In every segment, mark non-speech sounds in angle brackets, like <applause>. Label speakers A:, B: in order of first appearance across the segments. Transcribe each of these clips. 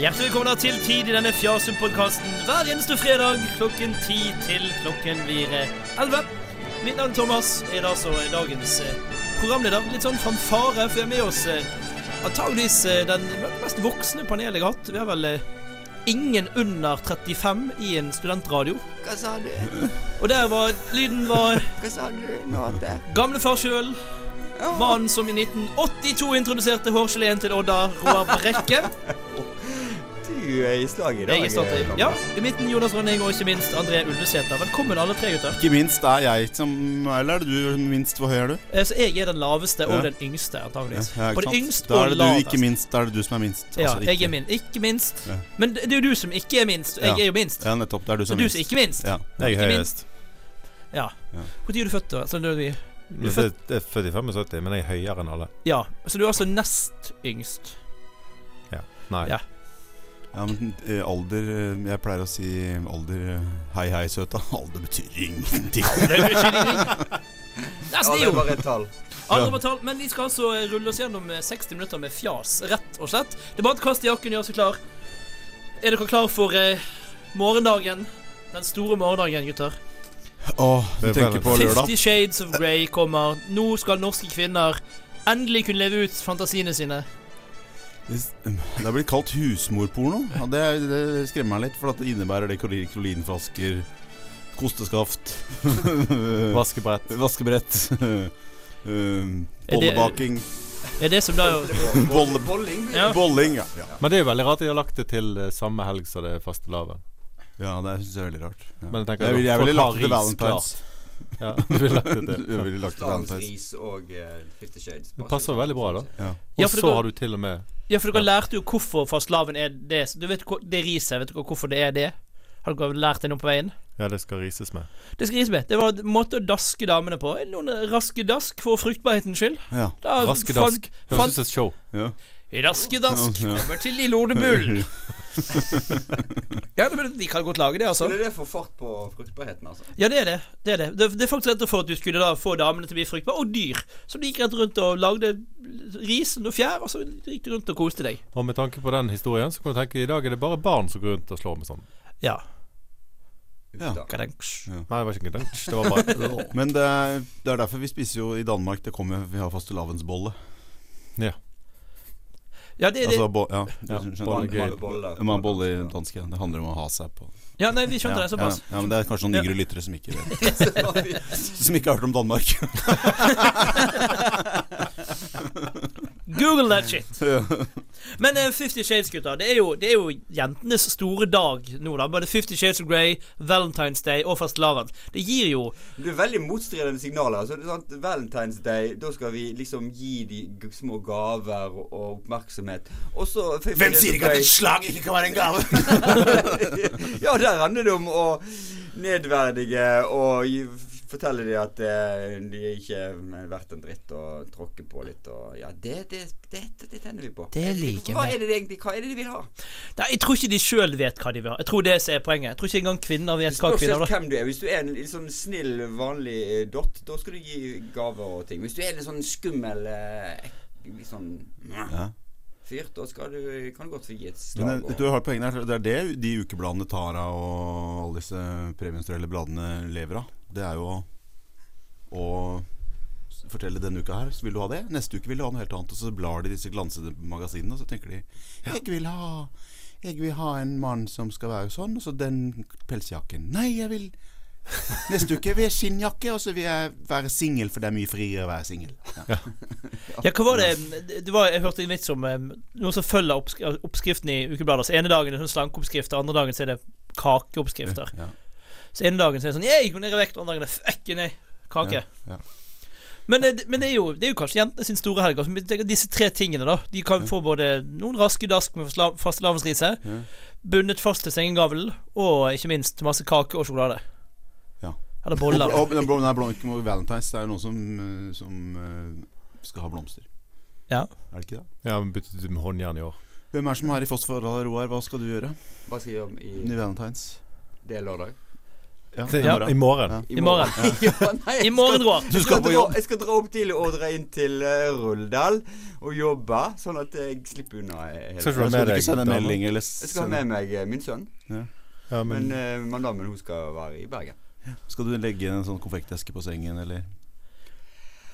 A: Hjertelig velkommen da til Tid i denne Fjarsum-podkasten hver eneste fredag klokken 10 til klokken blir eh, 11. Mitt navn er Thomas, er da så dagens eh, programleder. Litt sånn fanfare, for vi har med oss eh, antageligvis eh, den mest voksne panelet jeg har hatt. Vi har vel eh, ingen under 35 i en studentradio.
B: Hva sa du?
A: Og der var lyden var
B: Hva sa du nå til?
A: gamlefar sjøl.
B: Å,
A: Mannen som i 1982 introduserte hårgeleen til Odda, Roar Brekke.
B: Du er i slaget i dag. eh,
A: Jeg er stolt av Ja, i midten Jonas Rønning og ikke minst André Ulvesæter. Velkommen alle tre, gutter.
C: Ikke minst er jeg som Eller er det du minst? Hvor høy er du?
A: Eh, Så jeg er den laveste og
C: Ja.
A: den yngste, antageligvis.
C: Ja,
A: Både
C: ikke sant?
A: yngst
C: da
A: og
C: er det du,
A: lavest.
C: ikke minst, da er det du som er minst.
A: Ja,
C: Altså,
A: jeg
C: ikke-
A: er min. Ikke minst.
C: Ja.
A: Men det det er jo du som ikke er minst. og Jeg
C: Ja.
A: er jo minst.
C: Ja, nettopp. Det er du
A: Så
C: som er
A: du som
C: minst.
A: ikke er minst.
C: Ja, jeg er
A: Ikke
C: høyest.
A: Ja.
C: Ja.
A: Når er du født, da? Så du er vi-
D: Du er født jeg er født i 75, men jeg er høyere enn alle.
A: Ja. Så du er altså nest
C: <laughs>
A: yngst.
D: Nei.
A: Ja.
C: Ja, men eh, alder eh, Jeg pleier å si alder eh, Hei, hei, søta. Alder betyr ingenting.
A: Nesten
B: det
A: er
B: er
A: jo
B: bare et tall.
A: aldri betalt. Men vi skal altså eh, rulle oss gjennom eh, 60 minutter med fjas, rett og slett. Det er bare å kaste jakken og gjøre seg klar. Er dere klar for eh, morgendagen? Den store morgendagen, gutter.
C: <laughs> Åh, du
D: Det er
C: tenker
D: veldig-
C: på lørdag?
A: Fifty Shades of Grey kommer. Nå skal norske kvinner endelig kunne leve ut fantasiene sine.
C: Det har blitt kalt husmorporno. Ja, det, er- det skremmer meg litt, for at det innebærer det klor- klorinflasker, <laughs> kosteskaft
D: Vaskebrett.
C: Vaskebrett. <laughs> eh,
A: Er det-
C: Bollebaking. <laughs>
A: Det er det som da
C: Bolle,
B: Bolling?
A: Ja.
C: bolling, ja. ja.
D: Men det er jo veldig rart at de har lagt det til eh, samme helg som det fastelavn.
C: Ja, det syns jeg er veldig rart. Ja.
D: Men jeg tenker
C: jeg
D: at
C: ville
D: folk
C: vil
D: har
C: lagt det til
D: ris,
C: Valentine's.
D: Ja, du har lagt det til.
C: <laughs> Jeg ville lagt det til
B: Dagens
C: Valentine's.
B: ris og eh, Fifty Shades.
D: Det passer veldig bra, da.
C: Ja.
A: Ja,
D: Og
A: for det
D: så
A: går-
D: har du til og med
A: Ja, for dere lærte jo hvorfor fastelavn er det. Du vet hvor- det riset. Vet dere hvorfor det er det? Har dere lært det nå på veien?
D: Ja, det skal rises med.
A: Det skal rises med. Det var en måte å daske damene på. Noen raske dask for fruktbarhetens skyld.
C: Ja.
A: Da
D: Raske
A: fant-
D: dask.
A: fant-
D: Høres ut som et show.
C: ja. <laughs>
A: Raske dask.
C: Ja, ja.
A: Over til Lille <laughs> Ordemull. ja, men de kan godt lage det, altså.
B: Skulle det få fart på fruktbarheten, altså?
A: Ja, det er det. Det er, det. Det, det er faktisk rett og slett for at du skulle da få damene til å bli fruktbare, og dyr. Så du gikk rett rundt og lagde ris og fjær, og så gikk du rundt og koste deg.
D: Og med tanke på den historien, så kan du tenke i dag er det bare barn som går rundt og slår med sånn.
A: Ja.
C: Ja.
B: Da.
A: Kadenks.
D: Nei, det var ikke en
C: <laughs>
D: Det var bare
C: Men det er, det er derfor vi spiser jo i Danmark. Det kommer Vi har fastelavnsbolle.
D: Ja.
A: Ja, det er det.
C: Altså, bo, ja, du
D: Ja,
C: skjønner.
D: bolle,
C: Man-
D: gøy.
B: Boller.
C: man- man- bolle i
B: <laughs>
C: dansk. Ja. Det handler om å ha seg på.
A: Ja, nei, vi
C: Ja,
A: skjønte det
C: ja,
A: såpass.
C: ja, men det er kanskje noen yngre lyttere som ikke vet Som ikke har hørt om Danmark. <laughs>
A: Google that shit. Men eh, Fifty Shades, gutter, det er, jo, det er jo jentenes store dag nå, da. Både Fifty Shades of Grey, Valentine's Day og fastelavn. Det gir jo
B: Du er veldig motstridende signaler. Så det er sant, Valentine's Day, da skal vi liksom gi de g- små gaver og og oppmerksomhet. Og så Hvem
C: slag ikke kan være en gave?
B: <laughs> ja, der handler det om å nedverdige og gi, fortelle dem at eh, de er ikke er verdt en dritt, og tråkke på litt og Ja, det, det, det, det tenner vi på.
A: Det liker
B: hva
A: vi.
B: er det de egentlig hva er det de vil ha?
A: Nei, Jeg tror ikke de sjøl vet hva de vil ha. Jeg tror det som er poenget. Jeg tror ikke engang kvinner vet hva
B: Spør
A: kvinner
B: selv
A: vil ha.
B: hvem du er. Hvis du er en liksom snill, vanlig eh, dott, da skal du gi gaver og ting. Hvis du er en sånn skummel eh, ek- litt sånn
C: Ja.
B: fyr, da skal du, kan du godt få gi et slag.
C: Men det,
B: og-
C: du har poenget her. Det er det de ukebladene Tara og alle disse premiumstruelle bladene lever av. Det er jo å s- fortelle denne uka her, så vil du ha det. Neste uke vil du ha noe helt annet. Og så blar de disse glansede magasinene, og så tenker de Jeg vil ha jeg vil ha en mann som skal være sånn, og så den pelsjakken. Nei, jeg vil Neste uke vil jeg skinnjakke, og så vil jeg være singel, for det er mye friere å være singel. Ja.
A: Ja, hva var det Det var, Jeg hørte en vits om eh, noen som følger oppsk oppskriften i ukeblader. Så ene dagen er det sånn slankeoppskrift, og andre dagen så er det kakeoppskrifter.
C: Ja.
A: Så ene dagen så er det sånn Jeg går ned i vekt, og andre dagen er det «Fuck, nei, kake.
C: Ja, ja.
A: Men, eh, men det, er jo, det er jo kanskje jentene sin store helg. altså. Men tenk at Disse tre tingene, da. De kan få både noen raske dask med fasla- fastelavnsrise,
C: Ja.
A: bundet fast til sengegavlen, og ikke minst masse kake og sjokolade.
C: Ja.
A: Eller boller.
C: Og, og, nei, blom- nei, blom- ikke må- Valentine's, det er noen som, eh, som eh, skal ha blomster.
A: Ja.
C: Er det ikke det?
D: Ja, men byttet ut med håndjern i år.
C: Hvem er det som er i Fosfor, Roar? Hva skal du gjøre
B: Hva skal jeg gjøre
C: i
B: i
C: Valentine's?
B: det lørdag?
C: Ja,
D: Til,
A: Ja.
D: I morgen.
C: Ja.
A: I morgen.
B: <laughs> Ja, nei, jeg
A: I morgen
B: skal-
A: rår.
C: Du
B: Jeg
C: skal
B: skal,
C: på
B: dra,
C: jobb.
B: jeg skal dra opp tidlig og dra inn til eh, Rulldal og jobbe, sånn at jeg slipper unna. eh, hele
D: Skal
B: tiden.
C: Skal
D: ikke være
C: du
D: med deg.
C: ikke sende en
D: dama?
C: melding eller
B: Jeg skal ha
C: sende,
B: med meg eh, min sønn,
D: Ja, men,
B: men eh, madammen hun skal være i Bergen.
C: Skal du legge en sånn konfekteske på sengen, eller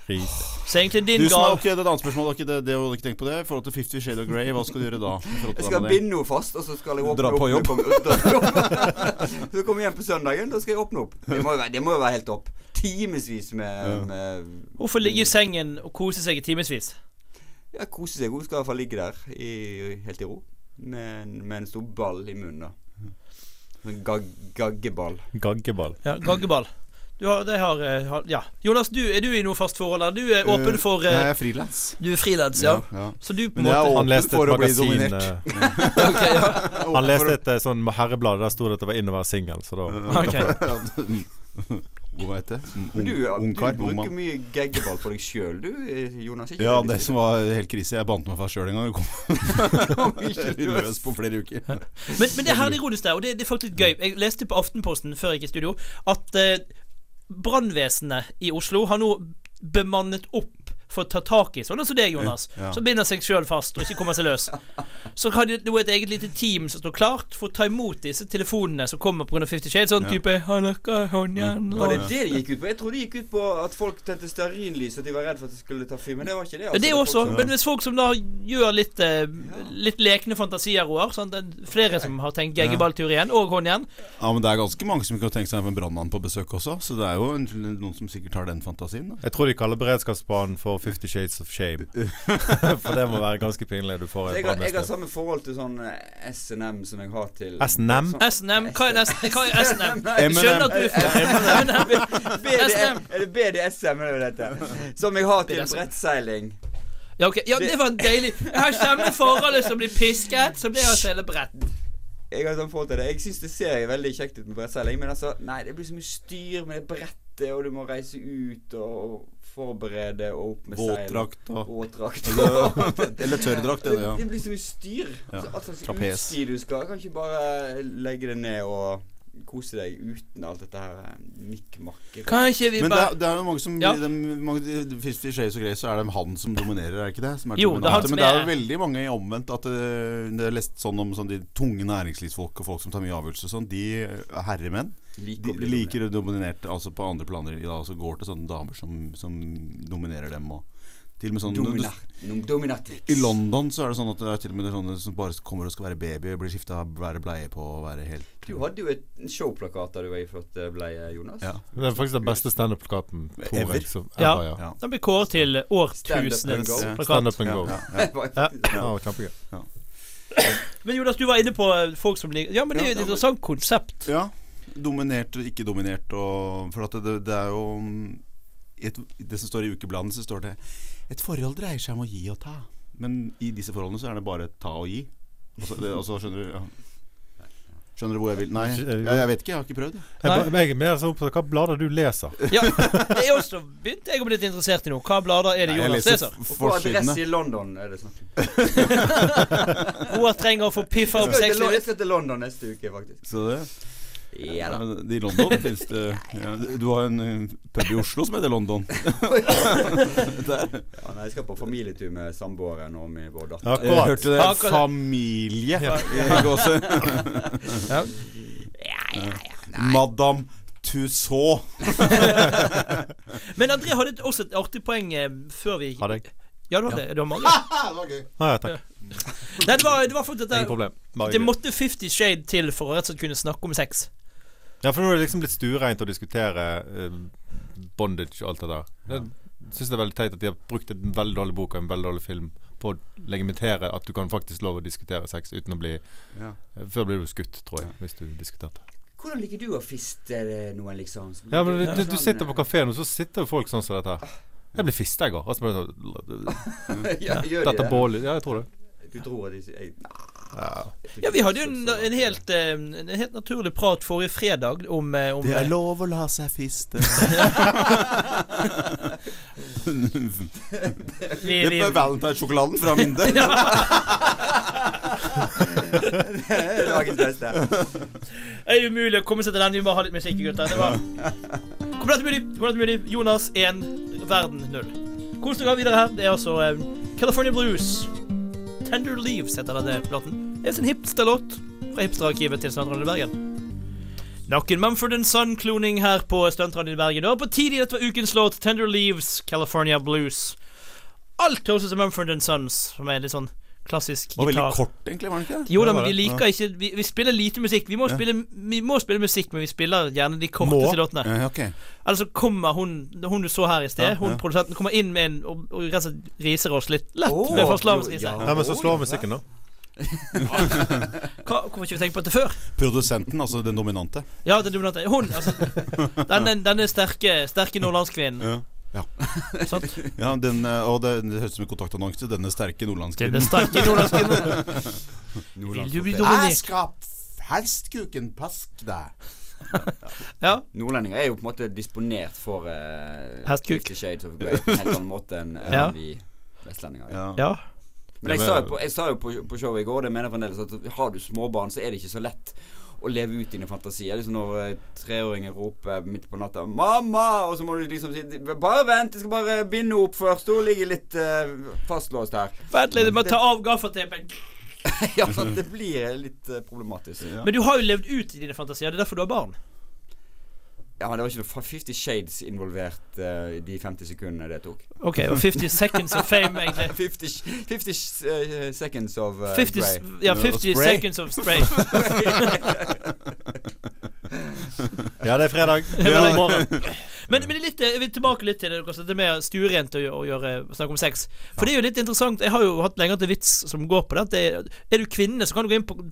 D: ris.
A: Så egentlig
C: du,
A: din
C: som er,
A: gave
C: ok, Det er et annet spørsmål. ok, Det, det hadde jeg ikke tenkt på det. I forhold til Fifty Shade of Grey, hva skal du gjøre da? i forhold
B: Jeg
C: til
B: skal
C: dama di?
B: binde henne fast, og så skal jeg åpne
C: Dra
B: opp.
C: på
B: når
C: jobb.
B: jeg kommer- <laughs> dra på jobb. <laughs> så kommer jeg hjem på søndagen, da skal jeg åpne opp. Det må jo være, det må jo være helt topp. Timevis
C: Ja.
B: med, med
A: Hun får ligge i sengen og kose seg i timevis.
B: Ja, kose seg. Hun skal i hvert fall ligge der i, helt i ro. Med, en- med en stor ball i munnen, da. En gag, gaggeball.
D: Gaggeball.
A: Ja, Gaggeball. Du har, det har, eh, har Ja. Jonas, du, er du i noe fast forhold? eller? Du er åpen for
C: Nei,
A: eh,
C: jeg er frilans.
A: Du er frilans, ja. Så du på en
C: Men jeg
A: måte
C: er åpen
D: Han leste
C: for
D: et
C: å bli
D: magasin
C: dominert.
D: eh,
A: Ok, ja.
D: Han leste et eh, sånn herreblad. Der sto det at det var inn å være singel. Så da
A: Ok.
C: <laughs> mm. Hva heter det?
B: Men du, ja, du
C: Ungkar? ung
B: bruker
C: mann.
B: mye gaggeball på deg sjøl, du, eh, Jonas. ikke
C: Ja,
B: sant?
C: det som var helt krise. Jeg bandt meg fast sjøl en gang. Jeg <laughs> kom
B: Kom ikke
C: helt løs på flere uker.
A: Men, men det er herlig ironisk der, og det, det er faktisk litt gøy. Jeg leste på Aftenposten før jeg gikk i studio at eh, brannvesenet i Oslo har nå bemannet opp for å ta tak i sånn som deg, Jonas,
C: Ja.
A: som binder seg sjøl fast og ikke kommer seg løs. Så har de nå et eget lite team som står klart for å ta imot disse telefonene som kommer pga. Fifty Shades. Sånn
C: Ja. Mm.
A: type «Hallo, hva, hånd igjen,
B: Var det
A: la».
B: det det gikk ut på? Jeg trodde det gikk ut på at folk tente stearinlys, at de var redd for at det skulle ta fyr. Men det var ikke det.
A: Ja,
B: altså.
A: det
B: var
A: også,
B: folk som-
A: men hvis folk som da gjør litt eh, Litt lekne fantasier, Roar sånn, det er Flere som har tenkt geggeballteorien og hånd igjen.
C: Ja, men det er ganske mange som kan tenke seg en brannmann på besøk også, så det er jo en, noen som sikkert har den fantasien. Da.
D: Jeg tror de kaller beredskapsbanen for Fifty Shades of Shame. For det må være ganske pinlig. Du
B: Så
D: får et
B: jeg, har, jeg har
D: brannmester.
B: samme forhold til sånn eh, SNM som jeg har til
D: S&M?
B: Sånn-
A: SNM, hva er nesten- hva er
B: <laughs>
A: SNM?
B: Nei,
A: Jeg skjønner at du
B: BD,
A: SNM.
B: er det BDSM eller hva det heter? Som jeg har til
A: BDSM.
B: brettseiling.
A: <laughs> Ja, ok. ja, det var en deilig Jeg har samme forholdet som blir pisket, som blir altså hele brett.
B: Jeg har sånn forhold til det Jeg syns det ser veldig kjekt ut med brettseiling, men altså, nei, det blir så mye styr med det brettet, og du må reise ut og forberede og opp med seil.
C: Våtdrakt og
B: Våtdrakt. <laughs>
C: Eller tørrdrakt,
B: Det,
C: det, ja.
B: det blir så mye styr.
C: Ja.
B: Altså, alt slags
C: Trapes.
B: utstyr du skal. Kan ikke bare legge det ned og kose deg uten alt dette her eh, mikkmakket.
A: Kan ikke vi
C: Men det
A: bare
C: er, det er jo mange som
A: Ja.
C: de, mange, de, Fifty Shades og Grey, så er det han som dominerer, er det ikke det? Som er
A: Jo, det er
C: dominante.
A: han som
C: Men det er jo
A: er-
C: veldig mange omvendt at eh, det er lest sånn om sånn, de tunge næringslivsfolk og folk som tar mye avgjørelser og sånn. De eh, herremenn de, de liker å dominere altså på andre planer. Ja, altså går til sånne damer som, som dominerer dem. Og til og med sånn du-
B: Dominatrix.
C: I London så er det sånn at det er til og med sånne som bare kommer og skal være baby, blir skifta, være bleie på og være helt
B: Du hadde jo et en showplakat da du var iført eh, bleie, Jonas.
C: Ja.
D: Det er faktisk den beste standup-plakaten. tror
C: Ever.
D: jeg, som-
A: Ja.
D: ever, ja.
C: Ja.
A: Den blir kåret til årtusenets
B: Stand up
A: plakat.
D: Standup and go.
C: Ja,
B: <laughs> Det var-
A: Ja.
D: Ja, det var kjempegøy.
A: Men Jonas, du var inne på eh, folk som ligger Ja, men det er jo et
C: Ja, ja, men-
A: interessant konsept.
C: Ja. Dominert og ikke dominert og For at det, det er jo mm, i et, i Det som står i ukebladene, så står det Et forhold dreier seg om å gi og ta. Men i disse forholdene så er det bare ta og gi. Og så, det, og så skjønner du ja. Skjønner du hvor jeg vil? Nei, jeg, jeg vet ikke. Jeg har ikke prøvd. jeg.
D: Jeg,
A: Nei.
D: ba- men jeg er mer sånn opptatt av hva blader du leser.
A: Ja, det er også begynte jeg å bli litt interessert i nå. Hva blader er det
C: Jeg
A: Jonas
C: leser
A: leser?
C: f-
B: Og på adresse
C: forsidene.
B: i London er det snakk om.
A: Roar trenger å få
B: <laughs>
A: piffa
B: Jeg skal til
A: opp
B: Lo-
A: sexlivet.
B: Jeg skal til London neste uke, faktisk.
C: Så det
B: Ja da.
C: Men I London finnes
A: <laughs>
C: det ja, Du har en eh, pub i Oslo som heter London. <laughs> Der.
B: Ja, nei, jeg skal på familietur med samboeren og med vår datter.
C: Eh,
D: Akkurat.
C: Hørte du det?
A: Akkurat.
C: Familie.
D: Ja.
C: <laughs> i
A: <laughs>
C: gåse.
D: Ja.
C: Madame Tussaud.
A: Men André hadde et- også et artig poeng eh, før vi
D: Hadde jeg.
A: Ja, du hadde det. Du har mange.
D: Nei, takk.
A: Nei, det var, det var faktisk
D: Ingen
A: dette
D: problem. Bare
A: Det
D: hyggelig.
A: måtte Fifty Shade til for å rett og slett kunne snakke om sex.
D: Ja, for nå er det liksom litt stuereint å diskutere eh, bondage og alt det der. Jeg syns det er veldig teit at de har brukt en veldig dårlig bok og en veldig dårlig film på å legitimere at du kan faktisk lov å diskutere sex uten å bli eh,
C: Ja.
D: Før blir du skutt, tror jeg, hvis du diskuterte.
B: Eh, Hvordan liker du å fiste eh, noen, liksom? Som
D: Ja, men
B: liker-
D: du, du
B: sånn,
D: sitter på
B: eh,
D: kafeen, og så sitter jo folk sånn som dette her. Jeg blir fista, jeg òg.
B: ja, gjør de
D: sånn, Dette
B: det?
D: bålet Ja, jeg tror det.
B: Du tror at de sier jeg-
A: Ja, vi hadde jo en, en, helt, eh, en helt naturlig prat forrige fredag om, eh, om eh,
C: lov å la seg
A: <laughs>
C: fiste. <laughs>
A: vi,
C: Det
A: vi, <laughs>
C: er Valentine's-sjokoladen fra Minde.
B: <laughs> Dagens beste.
A: er det umulig å komme seg til den. Vi må ha litt musikk, gutter. Det var komplett mulig. Komplett mulig. Jonas 1, verden 0. Kos dere videre her. Det er altså eh, California Blues. Tender Leaves heter denne platen. Det er en hipsterlåt fra hipsterarkivet til Strandrandet i Bergen. Nok en Mumford Son-kloning her på Stuntrandet i Bergen. Det var på tide dette var ukens låt Tender Leaves, California Blues. Alt høres ut som Mumford Sons, som er litt sånn klassisk
C: Og veldig
A: gitar.
C: kort, egentlig, var det ikke det?
A: Jo da,
D: Ja,
A: men
D: bare-
A: vi liker ikke Vi, vi spiller lite musikk. Vi må, spille, vi må spille musikk, men vi spiller gjerne de korteste låtene.
C: Ja, ok.
A: Ellers så kommer hun Hun du så her i sted,
C: Ja,
A: hun
C: ja.
A: produsenten, kommer inn med en og, og rett og slett riser oss litt lett
B: Åh,
A: med fastelavnsrise.
B: jo,
D: Ja, men så slår musikken, da.
A: Hva- Hvorfor har ikke vi tenkt på dette før?
C: Produsenten, altså den dominante.
A: Ja, det er dominante. Hun,
C: <laughs>
A: altså. Denne, denne sterke, sterke nordlandskvinnen.
C: Ja. Ja.
A: <laughs> Sant?
C: den, eh, og det, det høres ut som en kontaktannonse. Denne sterke
A: Det er den
C: nordlandskvinnen.
A: sterke nordlandskvinnen. Vil du bli dominert?
C: skal helstkuken pask deg.
A: Ja.
B: Nordlendinger er jo på en måte disponert for uh,
A: Hestkuk.
B: Shades of Grey på en helt annen måte enn enn
A: Ja.
B: vi vestlendinger.
C: Ja.
A: ja.
B: Men jeg sa jo på, jeg sa jo på, på showet i går, det mener jeg fremdeles, at har du småbarn, så er det ikke så lett å leve ut dine fantasier. Liksom når eh, treåringer roper midt på natta 'Mamma!', og så må du liksom si 'Bare vent, jeg skal bare binde opp først. Hun ligger litt eh, fastlåst her'. <laughs>
A: Vent litt, jeg må ta av gaffateipen.
B: ja, for det blir litt eh, problematisk. Ja.
A: Men du har jo levd ut i dine fantasier. Det er derfor du har barn.
B: det var ikke noe fa- 50 Shades involvert eh, i de 50 sekundene det tok.
A: Ok, og 50 seconds of fame, egentlig.
B: 50, sh- 50 sh- eh, seconds of eh,
A: 50,
B: Grey.
A: ja,
C: Og
A: 50
C: spray.
A: seconds of
C: <laughs>
A: spray.
D: <laughs> <laughs> Ja, det er fredag.
A: Det var den morgenen. Men, men det er litt, eh, jeg vil tilbake litt til det, dere sa, det med stuerent å, gjø- å gjøre, snakke om sex. For det er jo litt interessant. Jeg har jo hatt lenger til vits som går på det. At det er, er du kvinne, så kan du gå inn på, på,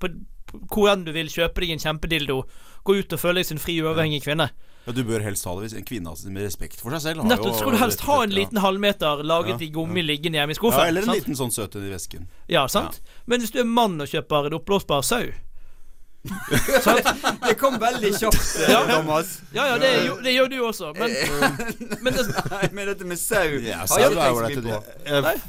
A: på hvor enn du vil, kjøpe deg en kjempedildo, gå ut og føle deg som en fri, uavhengig kvinne.
C: Ja, du bør helst ha det hvis en kvinne altså, med respekt for seg selv har
A: Nettopp.
C: jo-
A: Så skal du helst ha en
C: ja.
A: liten halvmeter laget
C: Ja,
A: i gummi liggende hjemme i
C: ja,
A: skuffen.
C: Eller en
A: sant?
C: liten sånn søt i vesken.
A: Ja, sant? Men hvis du er mann og kjøper en oppblåsbar sau
B: Det kom veldig kjapt, eh,
A: Ja.
B: Thomas. <laughs>
A: Ja ja, det, er jo- det gjør du også, men,
C: <laughs>
A: men altså, det,
B: Nei, men dette med sau
C: Ja,
B: har
C: sau
B: jeg
C: er
B: tenkt så
C: ålreit,
B: mye på.
D: Jeg,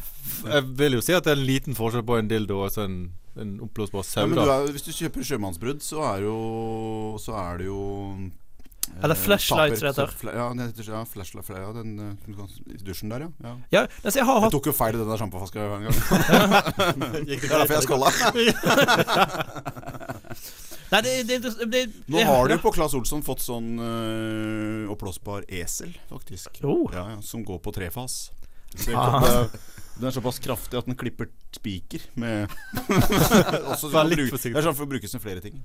D: jeg vil jo si at det er en liten forskjell på en dildo og så en, en oppblåsbar
C: Ja,
D: sau,
C: men du
D: da.
C: er, hvis du kjøper sjømannsbrudd, så er det jo Så er det jo eh,
A: Eller flashlight,
C: taper-
A: som det heter.
C: fla- Ja, det heter ja, flashlight, fla- ja, den eh, du kan- i dusjen der, ja. ja.
A: ja, altså, jeg har
C: Jeg
A: hatt
C: tok jo feil i den der sjampoflaska en gang. <laughs>
A: <laughs>
C: Det er derfor jeg skåla.
A: Nei, det, det, det, det
C: Nå
A: det-
C: har du på Claes Olsson fått sånn øh, oppblåsbar esel, faktisk.
A: Oh.
C: Ja, ja, som går på
B: <laughs>
C: trefas.
B: Ah.
C: Så jeg kan, øh, Den er såpass kraftig at den klipper spiker med <laughs> Også
D: Vær
C: kan
D: litt
C: bruke-
D: forsiktig.
C: Det er sånn for å bruke som flere ting.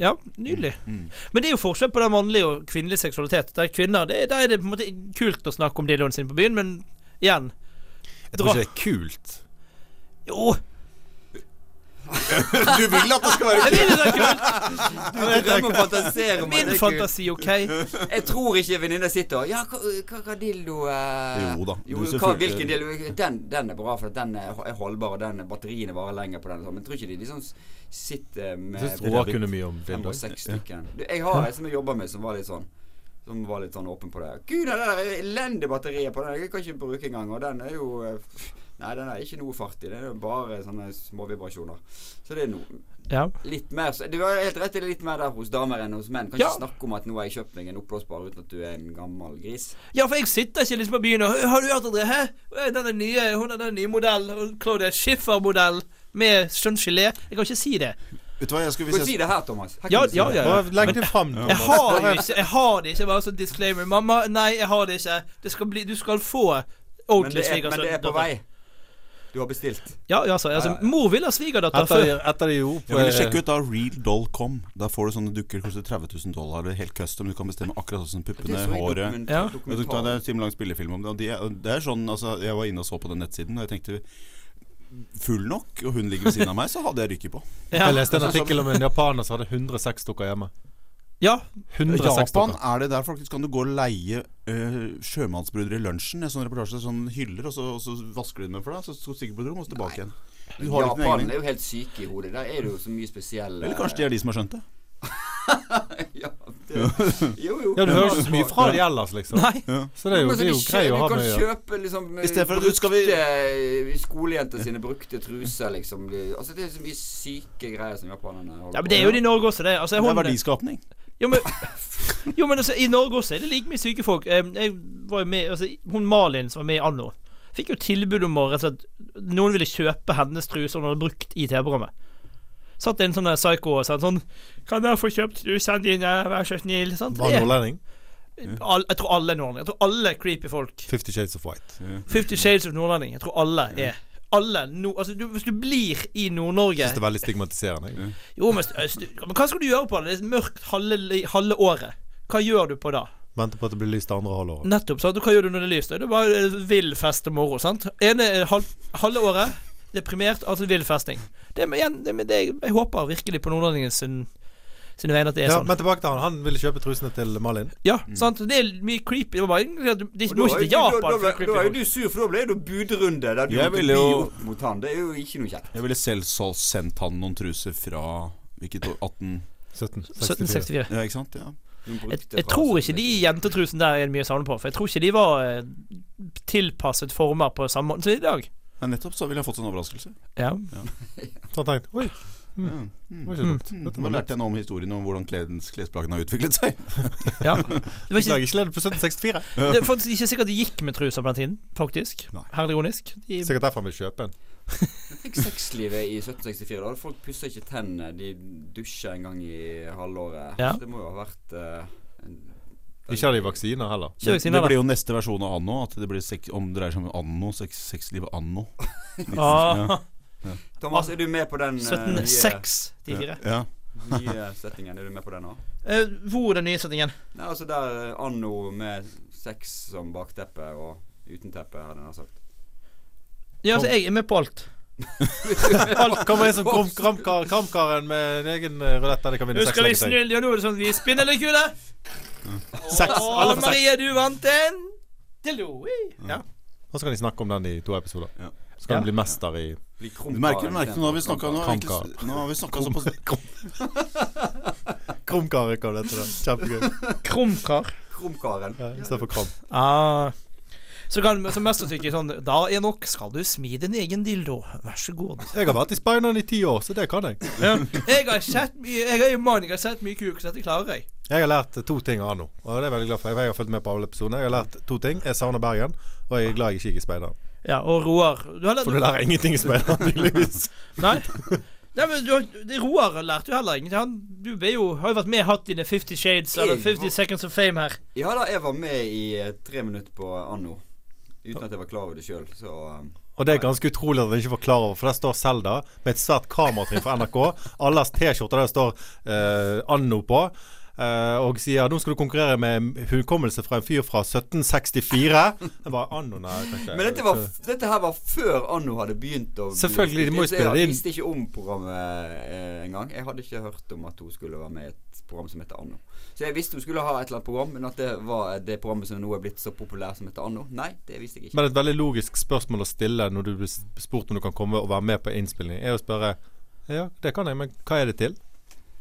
A: Ja, nydelig.
B: Mm,
A: Men det er jo forskjell på den mannlige og kvinnelige seksualitet. Der kvinner, det, der er det på en måte kult å snakke om dildoen sin på byen, men igjen
D: Jeg tror ikke det er kult.
A: Jo,
C: Du vil at det skal være
A: jeg vil det er
B: <laughs>
A: kult!
B: Jeg drømmer og fantaserer om at
A: Min
B: det er kult.
A: fantasi, OK?
B: <laughs> Jeg tror ikke venninna sitter og Ja, hva, hva, hva dildo eh,
C: Jo da,
B: Jo,
C: du ser
B: hva,
C: fullt-
B: hvilken dildo den, den er bra, for at den er er holdbar, og den batteriene varer lenger på den. og sånn. Men jeg tror ikke de liksom sitter med
D: Jeg syns Roar kunne mye om
B: fem
D: dildo.
B: og seks stykken. Du, Jeg har en som jeg jobber med, som var litt sånn Som var litt sånn åpen på det. Gud, det der elendige batteriet på den, jeg kan ikke bruke engang. Og den er jo eh, Nei, den er ikke noe fart i. Det er jo bare sånne småvibrasjoner. Så det er noe
A: Ja.
B: Litt mer så- Du har helt rett, det er litt mer der hos damer enn hos menn. Kan ikke
A: Ja.
B: snakke om at nå har jeg kjøpt meg en oppblåsbar uten at du er en gammel gris.
A: ja, for jeg sitter ikke liksom på byen og Har du hørt om det? Hæ? Den er nye, hun er den nye modell. og Claudia Schiffer-modell med skjønn gelé. Jeg kan ikke si det.
C: Vet du hva, jeg skulle
B: Du kan si
C: vise
B: det her, Thomas. Her kan
A: Ja,
B: du si
A: ja,
B: det.
A: ja.
D: Bare Legg det fram.
A: Jeg har jo ikke, jeg har det ikke, bare sånn disclaimer. Mamma, nei, jeg har det ikke. Det skal bli, du skal få
B: Men,
A: ordentlig
B: det er,
A: svigersønn.
B: men det er på vei. Du har bestilt.
A: Ja, ja, altså, altså mor vil ha svigerdatter
D: Etter,
A: før.
D: etter det jo
C: jeg ville sjekke ut da real.com. Der får du sånne dukker koster 30 000 dollar. Det er helt custom. Du kan bestemme akkurat sånn som
B: Det
C: puppene,
B: er så i
C: håret
B: dokument-
A: Ja.
C: Jeg tok da,
B: dokumentar.
C: det er en timelang spillefilm om det. Og de, er- det er sånn, altså, jeg var inne og så på den nettsiden, og jeg tenkte Full nok, og hun ligger ved siden av meg, så hadde jeg <laughs> rykket på.
D: Jeg
A: Ja.
D: leste en artikkel om en japaner som hadde 106 dukker hjemme.
A: ja.
D: 106
C: Japan
D: dukker.
C: er det der faktisk kan du gå og leie øh, sjømannsbrødre i lunsjen. En sånn reportasje, sånn hyller, og så, og så vasker de dem for deg. Så så stikker du på et rom, og så tilbake igjen. Du har jo ikke noen
B: Japan
C: egen
B: er jo helt syke i hodet. Der er det jo så mye spesielle
C: Eller kanskje de er de som har skjønt det?
B: <laughs> ja, det, Jo, jo.
D: Ja, Du hører ikke så mye fra de ellers, liksom.
A: Nei.
D: Så det er jo,
B: Men så
D: det er jo
B: de kjø-
D: grei å ha
B: Du
D: med å
B: kan
D: gjøre.
B: kjøpe liksom eh,
C: I stedet for at du
B: brukte
C: skal vi-
B: eh, skolejenter sine brukte truser, liksom. De- Altså Det er så mye syke greier som japanerne holder
A: Ja, men det er jo det i Norge også, det. Altså, jeg
C: Det er
A: holder det.
C: verdiskapning.
A: Jo, men, jo, men <laughs> altså, i Norge også er det like mye syke folk. Eh, Jeg var jo med, altså, hun Malin som var med i Anno, fikk jo tilbud om å rett og slett Noen ville kjøpe hennes truse hun hadde brukt i TV-programmet. Satt en sånn der psycho og sa sånn 'Kan jeg få kjøpt trusene dine, vær så snill?' Sant?
D: Var
A: Det-
D: han nordlending?
A: all, jeg tror alle er nordlendinger. Jeg tror alle creepy folk.
D: Fifty Shades of White.
A: Fifty Shades of Nordlending. Jeg tror alle er alle, no, altså du, Hvis du blir i Nord-Norge
D: Syns det er veldig stigmatiserende. jeg.
A: Jo, men, st- st- men hva skal du gjøre på det? Det er mørkt halve, li- halve året. Hva gjør du på da?
D: Venter på at det blir lyst det andre
B: Mm.
D: halvåret.
A: Nettopp. sant? Og hva gjør du når det er lyst? Det er bare eh, vill fest og moro. sant? Ene er halv, halve året deprimert, altså vill festing. Det er, igjen, det, er- det, er- jeg håper virkelig på nordlendingen sin, sine vegne at det er
D: Ja,
A: sånn.
D: men tilbake til han. Han ville kjøpe trusene til Malin.
A: ja, sant? Det er mye creepy. Det var bare, de
B: Mm. Og
A: må
B: da
A: ikke
B: er
A: til
B: jo- da-
A: Japan.
B: da-
A: for å
B: Da
A: creepy
B: er jo
A: folk.
B: du sur, for da ble det jo budrunde der du
C: Jeg
B: måtte
C: ville
B: bi
C: jo-
B: opp mot han. Det er jo ikke noe kjekt.
C: Jeg ville selv så sendt han noen truser fra hvilket år? 18
D: 17, 64.
A: 1764.
C: Ja, ikke sant? Ja.
B: Du brukte
A: Jeg, jeg
B: fra
A: tror
B: sånn,
A: ikke de jentetrusene der er det mye å savne på. For jeg tror ikke de var eh, tilpasset former på samme måte som i dag.
C: ja, nettopp. Så ville jeg fått en overraskelse.
A: Ja.
D: Så han tenkte Oi,
C: Ja.
D: det
C: Mm.
D: var ikke dumt.
C: Mm.
D: Dette
C: Da
D: var lett.
C: lærte jeg noe om historien om hvordan kledens klesplagene har utviklet seg.
A: ja. Det var
C: <laughs>
D: Jeg
A: ikke,
D: lager ikke ledd på 1764.
A: <laughs> det er faktisk ikke sikkert de gikk med truser på den tiden, faktisk.
C: Nei.
A: Herlig ironisk.
B: Mm.
A: De,
D: Sikkert derfor han vil kjøpe en.
B: Jeg fikk sexlivet i 1764. Da Folk pussa ikke tennene. De dusja en gang i halvåret.
A: Ja.
B: Så det må jo ha vært eh, en- Mm.
D: Ikke hadde de vaksiner heller.
A: Kjør
C: Det,
A: vaksiner,
C: det
A: da.
C: blir jo neste versjon av anno. At det blir sek om det dreier seg om anno, sex, sexlivet anno.
A: <laughs> Ah,
B: Thomas, er du med på den eh,
A: 1764.
C: Ja.
B: nye, nye settingen? Er du med på den òg?
A: Eh, hvor er den nye settingen?
B: Nei, altså der eh, anno med sex som bakteppe og uten teppe, hadde jeg nær sagt.
A: Ja, altså, jeg er med på alt.
D: Alt kommer inn som <laughs> kram- kramkar, kramkaren med en egen eh, rulett der de kan vinne seks leketøy.
A: ja, nå er det sånn vi spinner litt kule.
D: Seks, alle får seks.
A: Marie, du vant en dildo. Ja.
D: Og så kan de snakke om den i to episoder.
C: Ja.
D: Så kan
A: Ja.
D: de bli mester i
B: Blir
C: Du
B: krumpa,
C: merker, du
B: den
C: merker
B: stedet.
C: nå har vi snakka nå, har vi egentlig
D: Kramkar.
C: s- nå har vi snakket såpass
D: Kramkar, kan det hete. Kjempegøy.
A: Krumkar.
B: Krumkaren.
D: <laughs> Ja, Istedenfor kram.
A: Ah. Så kan så mest sannsynlig sånn Da, Enok, skal du smi din egen dildo. Vær så god.
D: Jeg har vært i speideren i ti år, så det kan jeg.
A: Jeg har sett mye Jeg er jo mann, jeg har sett mye kuk, så dette klarer jeg.
D: Jeg har lært to ting av Arno, og det er jeg veldig glad for. Jeg har fulgt med på alle episodene. Jeg har lært to ting. Jeg savner Bergen, og jeg er glad jeg ikke gikk i speideren.
A: Ja, og Roar Du har
D: For du
A: lært
D: lærer ingenting i speideren, tydeligvis.
A: Nei? Nei, men du, har- det- Roar lærte jo heller ingenting. Han du ble jo, har jo vært med hatt dine 50 Shades eller
B: Jeg
A: 50
B: var-
A: Seconds of Fame her.
B: Ja da, jeg var med i eh, tre minutter på anno. Uten at jeg var klar over det sjøl, så um,
D: Og det er ganske utrolig at vi ikke får klar over, for der står Selda med et svært kameratrinn for NRK. Alle har T-skjorter der det står eh, Anno på. eh, og sier nå skal du konkurrere med hukommelse fra en fyr fra 1764. Det var Anno, nei. tenkte jeg.
B: Men dette, var, f- dette her var før Anno hadde begynt å bli
D: Selvfølgelig, de må jo
B: spilt inn, så
D: spille det inn.
B: Jeg visste ikke om programmet eh, engang. Jeg hadde ikke hørt om at hun skulle være med i et program som heter Anno. Så jeg visste hun skulle ha et eller annet program, men at det var det programmet som nå er blitt så populært som heter Anno, nei, det visste jeg ikke.
D: Men et veldig logisk spørsmål å stille når du blir spurt om du kan komme og være med på innspilling, er å spørre Ja, det kan jeg, men hva er det til?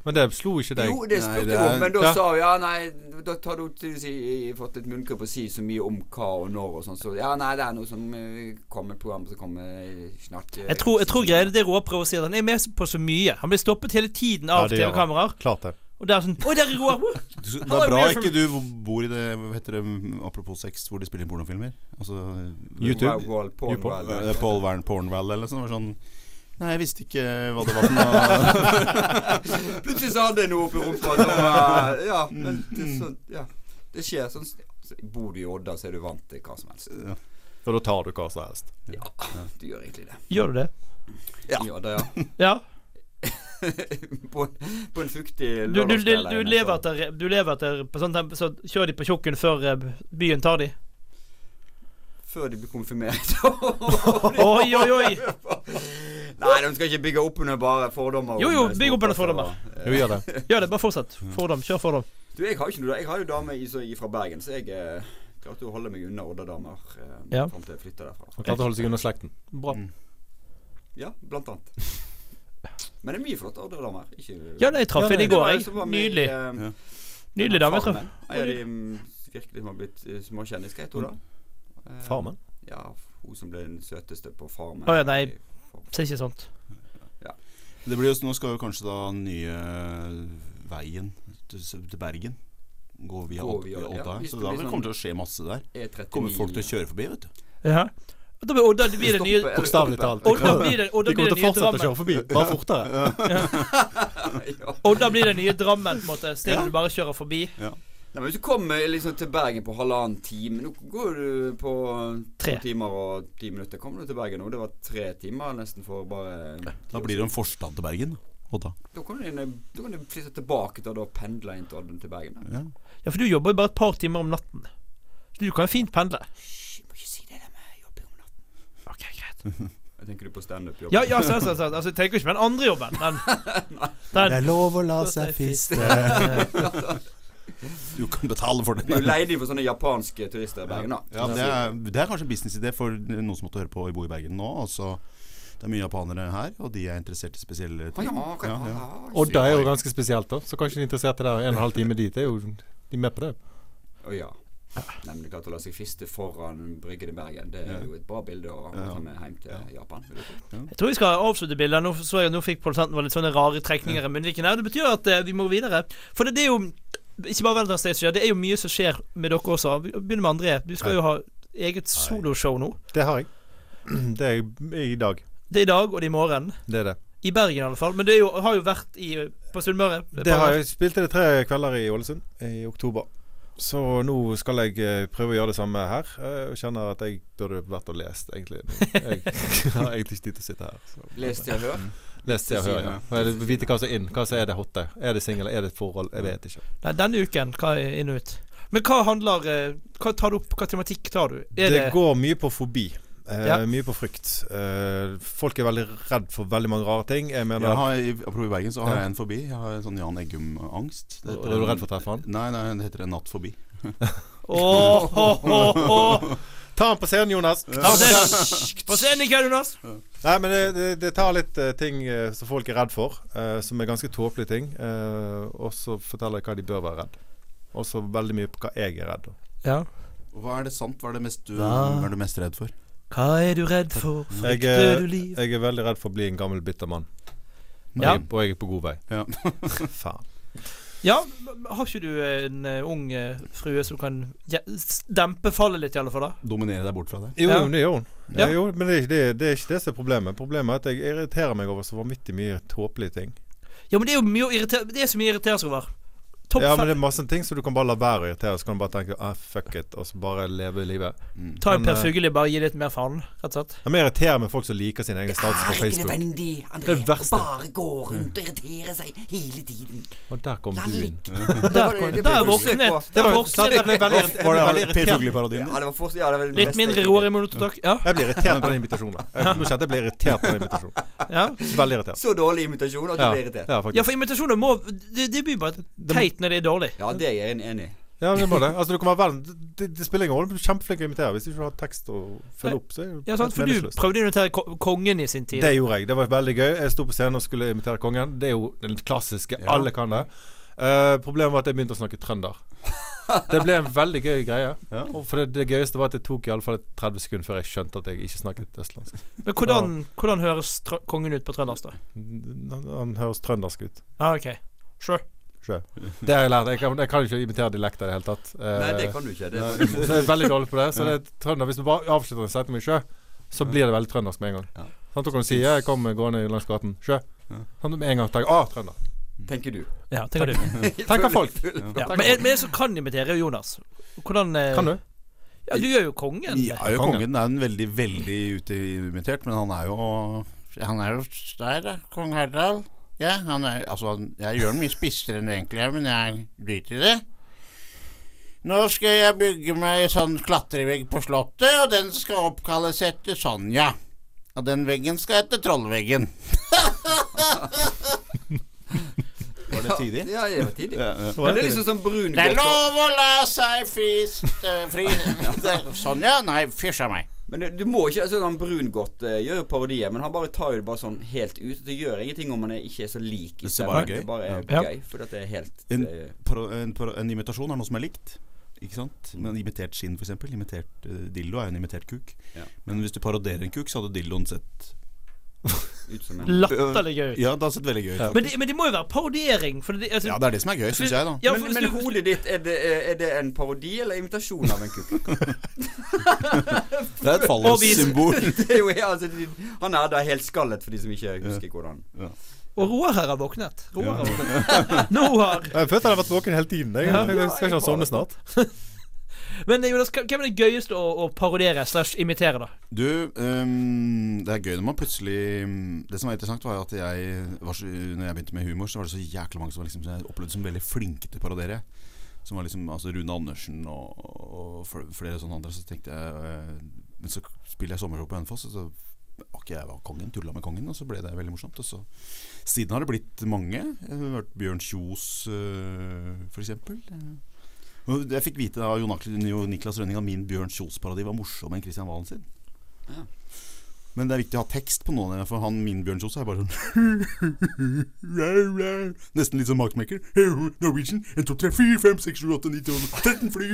D: Men det slo ikke deg.
B: Jo, det
C: Nei,
B: spurte
C: det
B: hun
C: er-
B: om, men da
D: Ja.
B: sa hun ja, nei, da har hun tydeligvis i- i- fått et munnkurv og si så mye om hva og når og sånn, så ja, nei, det er noe som eh, kommer program som kommer eh, snart. eh,
A: Jeg tror, jeg tror greia er det Roar prøver å si, at han er med på så mye. Han blir stoppet hele tiden
D: Ja,
A: av
D: det gjør han.
A: TV-kameraer.
D: Klart det.
A: Og det er sånn Oi, der er Roar! Woo!»
C: Det
A: Han er
C: er bra
A: mye for-
C: ikke du bor i det hva heter det, Apropos sex, hvor de spiller inn pornofilmer. Altså
D: YouTube.
B: Wow, wow, porn,
D: YouTube.
B: wow, wow.
C: Eh, Paul Vern Pornval eller sånn. Det var sånn Nei, jeg visste ikke hva det var for
D: <laughs>
C: noe
B: Plutselig så hadde jeg noe oppi rumpa. og det var- Ja, men det, er sånn, ja. det skjer sånn så Bor du i Odda, så er du vant til hva som helst.
C: Ja.
D: Og da tar du hva som helst.
B: Ja, du gjør egentlig det.
A: Gjør du det?
B: Ja. I Odda, ja.
A: Ja.
B: På, på en fuktig
A: Du, du, du,
B: lørdagskveld.
A: du lever etter, du lever etter på sånn tempo, Så kjører de på tjukken før eh, byen tar
D: <laughs>
A: de.
B: Før de blir konfirmert. <laughs>
A: Oi, oi, oi!
B: Nei, de skal ikke bygge opp under bare fordommer. om eh,
A: Jo, jo,
B: små
A: bygg opp under
B: plasser
A: fordommer.
B: og-
D: Jo, gjør det.
A: Gjør det, bare fortsett. Fordom. Kjør fordom.
B: Du, jeg har jo ikke noe Jeg har jo dame i, så, fra Bergen, så jeg eh, klarte å holde meg unna Odda-damer eh,
A: Ja.
B: fram til jeg flytta derfra.
D: Han klarte å holde seg unna slekten.
A: Bra.
B: Ja, blant annet. Men det er mye flotte ordredamer. Ikke
A: Ja, nei, jeg traff
D: Ja,
A: henne i
D: det
A: går,
B: var en
A: jeg.
B: som var med i,
A: Nydelig.
B: eh,
C: Ja.
A: Nydelig dame, altså. jeg
B: Farmen.
A: traff.
B: En av de mm, virkelig som har blitt eh, små kjendiser, jeg tror da. Eh,
D: Farmen?
B: Ja, hun som ble den søteste på Farmen.
A: Å ja, nei. Si
D: eh.
A: ikke sånt.
C: Det blir jo, nå skal jo kanskje da nye veien til, til Bergen gå via
B: Gå
C: Odd-
B: via- ja,
C: Odda.
B: hvis
C: så
B: det
C: da
B: blir sånn-
C: kommer det til å skje masse der.
B: E39.
C: Kommer folk til å kjøre forbi, vet du.
A: Ja. Og da blir Odda det blir det nye
B: Stoppe, eller
D: Bokstavelig
B: stoppe.
D: talt.
A: Odda blir det, Odda
D: De
A: blir
D: kommer
A: det
D: til å
A: nye
D: fortsette å
A: Drammen.
D: kjøre forbi, bare fortere.
B: <laughs> Ja.
A: Odda blir det nye Drammen, på en måte. Stedet du bare kjører forbi.
B: Nei, men Hvis du kommer liksom til Bergen på halvannen time Nå går du på
A: Tre.
B: tre timer og ti minutter. Kommer du til Bergen nå? Det var tre timer nesten for bare
C: Da blir det en forstad til Bergen. Odda.
B: Da kan du, inn- da kan du flytte tilbake til Odda og pendle inn til Odda til Bergen. da.
C: Ja.
A: Ja, for du jobber jo bare et par timer om natten. Så du kan jo fint pendle.
B: Hysj, må ikke si det der med jobbing om natten.
A: Ok, greit.
B: <laughs> Jeg tenker du på standup-jobb.
A: Ja, ja, sant, sant, sant. Altså, jeg tenker jo ikke på den andre jobben,
D: <laughs>
A: men den,
C: er lov å la
A: seg fiste.
C: <laughs> Du kan betale for
B: Du er
C: den.
B: jo leid inn for sånne japanske turister i Bergen, da.
C: Ja, det er, det er kanskje en businessidé for noen som måtte høre på og bo i Bergen nå. Altså, det er mye japanere her, og de er interessert i spesielle
B: Å,
C: ting.
B: ja, kan-
C: Ja, ja.
B: ah,
D: Odda er jo ganske spesielt, da. Så kanskje de er interessert i det. og En og en halv time dit er jo de er med på det.
B: Å ja. Nemlig klart å la seg fiste foran Bryggen i Bergen. Det er jo et bra bilde å ha med hjem til Japan. vil jeg tro.
A: Jeg tror vi skal avslutte bildet. Nå så jeg nå fikk produsenten var litt sånne rare trekninger i munnviken her. Det betyr jo at eh, vi må videre. For det, det er jo ikke bare Valentine's Day som skjer, det er jo mye som skjer med dere også. Vi begynner med André. Du skal jo ha eget soloshow nå.
D: Det har jeg. <clears throat> Det er jeg i dag.
A: Det er i dag og det er i morgen.
D: Det er det.
A: I Bergen i alle fall. Men det er jo, har jo vært i, på Sunnmøre.
D: Det har jeg spilte det tre kvelder i Ålesund i oktober. Så nå skal jeg eh, prøve å gjøre det samme her. eh, Og kjenner at jeg burde vært og lest, egentlig. <laughs> Jeg har egentlig ikke tid til å sitte her. Så.
B: Les til å høre.
D: Les til å høre. Ja. Og jeg vil Vite hva som er inn. Hva som er det hotte. Er det singel? Er det et forhold? Jeg vet ikke.
A: Nei, denne uken, hva er inn og ut? Men hva handler eh, Hva tar du opp? Hva tematikk tar du? Er
D: det går mye på fobi. Eh,
A: Ja.
D: Mye på frykt. Eh, folk er veldig redd for veldig mange rare ting. Jeg mener
C: Jeg har, i- apropos i Bergen, så har jeg en forbi. Jeg har en sånn Jan Eggum-angst. Det
D: Er
C: heter
D: du
C: en-
D: redd for å treffe han?
C: Nei, nei, det heter en natt forbi.
A: Åh, åh, åh, åh.
D: Ta han på scenen, Jonas!
A: Ta på scenen! På scenen ikke, Jonas!
D: Nei, men det, det, det tar litt eh, ting eh, som folk er redd for, eh, som er ganske tåpelige ting. eh, og så forteller jeg hva de bør være redd. Og så veldig mye på hva jeg er redd for.
A: Ja.
C: Og Hva er det sant? Hva er det mest du,
A: Hva?
C: hva er du mest redd for?
A: Hva er du redd for?
D: Jeg,
A: Frykter
D: er-
A: du liv?
D: jeg er veldig redd for å bli en gammel, bitter mann.
A: Ja.
D: Og jeg er på god vei.
C: Ja.
D: <laughs> Faen.
A: Ja, men har ikke du en eh, ung eh, frue som kan ja, s- dempe fallet litt, i alle fall? da?
C: Dominere deg bort fra det?
D: Jo,
A: Ja.
D: men det gjør hun.
A: Ja.
D: Jo, men det er, ikke det, det er ikke det som er problemet. Problemet er at jeg irriterer meg over så vanvittig mye tåpelige ting.
A: Ja, men det er jo mye å irritere Det er så mye å irritere seg over. Topp
D: ja,
A: fem.
D: men det er masse ting som du kan bare la være å irritere, så kan du bare tenke ah, fuck it, og så bare leve livet.
A: Ta en
D: men,
A: Per
D: eh,
A: Fugelli, bare gi litt mer faen, rett og slett.
D: Ja, men Jeg irriterer meg folk som liker sine egne status på Facebook.
E: nødvendig,
D: Det er verste.
E: Bare gå rundt og irritere seg hele tiden.
D: Og der kom
E: La
D: du inn.
E: ligge.
A: Der, kom-
B: det
A: der
B: ble
A: er voksne.
B: forsøk på-
A: Det var
D: sant, jeg ble
A: voksne.
D: veldig irritert- jeg ble veldig
C: Per
D: irritert.
C: Fugelli-parodien?
B: Ja, det var fortsatt, ja, det var det
A: Litt
B: beste
A: mindre
B: jeg-
A: roer i monototakk. Ja,
D: Jeg blir irritert på den invitasjonen. Jeg- Nå kjente jeg ble irritert på den invitasjonen.
A: ja.
D: Veldig irritert.
B: Så dårlig imitasjon at du
D: Ja,
B: blir irritert.
D: ja,
A: ja,
D: faktisk.
A: for invitasjoner må Det, det blir bare teit når det er dårlig.
B: Ja, det er jeg en- enig i.
D: Ja, det må det. Altså, du kan være verden. Det, det spiller ingen rolle. Du er kjempeflink til å invitere. Hvis du ikke har tekst å følge opp, så er det
A: Ja, sant, For du
D: meningsløst.
A: prøvde å invitere ko- kongen i sin tid.
D: Det gjorde jeg. Det var veldig gøy. Jeg sto på scenen og skulle imitere kongen. Det er jo den klassiske. Alle kan det. Eh, problemet var at jeg begynte å snakke trønder. Det ble en veldig gøy greie. Og for det, det gøyeste var at det tok i alle fall 30 sekunder før jeg skjønte at jeg ikke snakket østlandsk.
A: Men hvordan, hvordan høres tr kongen ut på trøndersk, da?
B: Mm.
D: Han, han høres trøndersk ut.
A: Ja, ok. Sure.
D: Sjø. Det har jeg lært. Jeg kan, jeg kan ikke imitere dialekter i det hele tatt. Eh,
B: Nei, det kan du ikke. Det er
D: så jeg er veldig dårlig på det. Så det er trønder Hvis du bare avslutter en setning med 'sjø', så blir det veldig trøndersk med en gang.
C: Ja.
D: Sånn, da kan du si 'jeg kom gående langs gaten', 'sjø'. Sånn, med en gang tenker jeg 'å, trønder'.
B: tenker du.
A: Ja, tenker du.
D: Tenker
B: <laughs>
D: folk.
A: Ja. Men en- men en som kan imitere, er jo Jonas. Hvordan eh,
D: Kan du?
A: Ja, du gjør jo kongen.
C: Ja, jo, kongen er jo veldig, veldig uteimitert, men han er jo Han er jo der, da. Kong Harald. Ja, han er Altså, han, jeg gjør den mye spissere enn det egentlig er, men jeg driter i det. Nå skal jeg bygge meg en sånn klatrevegg på Slottet, og den skal oppkalles etter Sonja. Og den veggen skal hete Trollveggen. Var det tidlig?
B: Ja, det var tidlig.
C: Ja, ja.
B: Men det er liksom sånn brun
C: eh,
E: <laughs> Det er lov å la seg friste fri... Sonja? Nei, fysj a meg.
B: Men det- du må ikke altså, han Brungot eh, gjør jo parodier, men han bare tar jo det bare sånn helt ut. Det gjør ingenting om han er, ikke er så lik. i
C: Det ser
B: stemmen.
C: bare gøy.
B: Det bare er
F: Ja.
B: gøy, fordi at det er helt
C: En-
B: eh,
C: Paro- en, paro- en imitasjon er noe som er likt. Ikke sant? Men Imitert skinn, f.eks. Imitert eh, dildo er jo en imitert kuk.
B: Ja.
C: Men hvis du paroderer en kuk, så hadde dildoen sett
B: ut som en
F: Latterlig gøy.
C: Ja, det hadde sett veldig gøy ut.
A: Men det, men det må jo være parodiering. For det, altså,
C: Ja, det er det som er gøy, syns jeg, da.
A: Ja, for-
B: men, men hodet ditt, er det, er det en parodi eller imitasjon av en
A: <laughs>
B: kuk?
C: Det er et <laughs> fallossymbol.
B: Det er jo, altså, de- han er da helt skallet, for de som ikke husker hvordan.
A: Og Roar her har våknet. Roar har våknet. Nå har
D: Jeg følte jeg hadde vært våken hele tiden. Jeg,
A: Ja.
D: jeg, skal ikke ha sovnet snart.
A: Men eh, Jonas, hva- hvem er det gøyeste å, å parodiere slash imitere, da?
C: Du, ehm, det er gøy når man plutselig Det som var interessant, var jo at jeg var så, Når jeg begynte med humor, så var det så jækla mange som var liksom, som jeg opplevde som veldig flinke til å parodere. Som var liksom altså Rune Andersen og, og fl- flere sånne andre. Så tenkte jeg eh, Men så spiller jeg sommershow på Hønefoss, og så var ikke jeg var kongen, tulla med kongen, og så ble det veldig morsomt. Og så Siden har det blitt mange. Jeg har hørt Bjørn Kjos, eh, for eksempel. Og Jeg fikk vite av Jon Akle- Jo Niklas Rønning at min Bjørn Kjos-parodi var morsom enn Christian Valen sin.
B: Ja.
C: Men det er viktig å ha tekst på noen, for han min Bjørn Kjos er bare sånn <laughs> Nesten litt som Marksmaker. Norwegian 1, 2, 3, 4, 5, 6, 7, 8, 9, 10, 13 fly <laughs>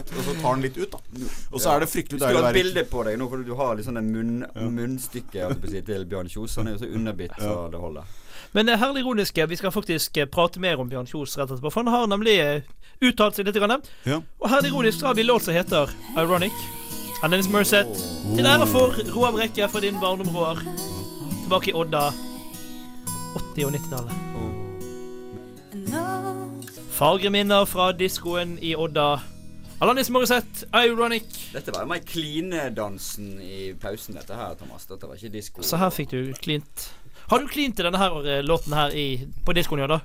C: Og så tar han litt ut, da. Og så er det
B: Du
C: fryktelig
B: skal
C: deilig å
B: ha
C: være
B: bilde på deg nå, for du har litt sånn en munn, munnstykke holdt jeg på å si, til Bjørn Kjos. Han er jo så underbitt, så det holder.
A: Men det herlig ironiske, vi skal faktisk eh, prate mer om Bjørn Kjos rett etterpå. For han har nemlig eh, uttalt seg litt. Grann.
C: Ja.
A: Og herlig ironisk så har vi en låt som heter Ironic. Av Dennis Merced. Til ære for Roar Brekke fra din barndom, Roar. Tilbake i Odda. 80- og 90-tallet. Fargre minner fra diskoen i Odda. Alanis Morissette, Ironic.
B: Dette var jo mer klinedansen i pausen, dette her, Thomas. Dette var ikke disko.
A: Så her fikk du klint. Har du klint til denne her eh, låten her i, på diskoen i Odda?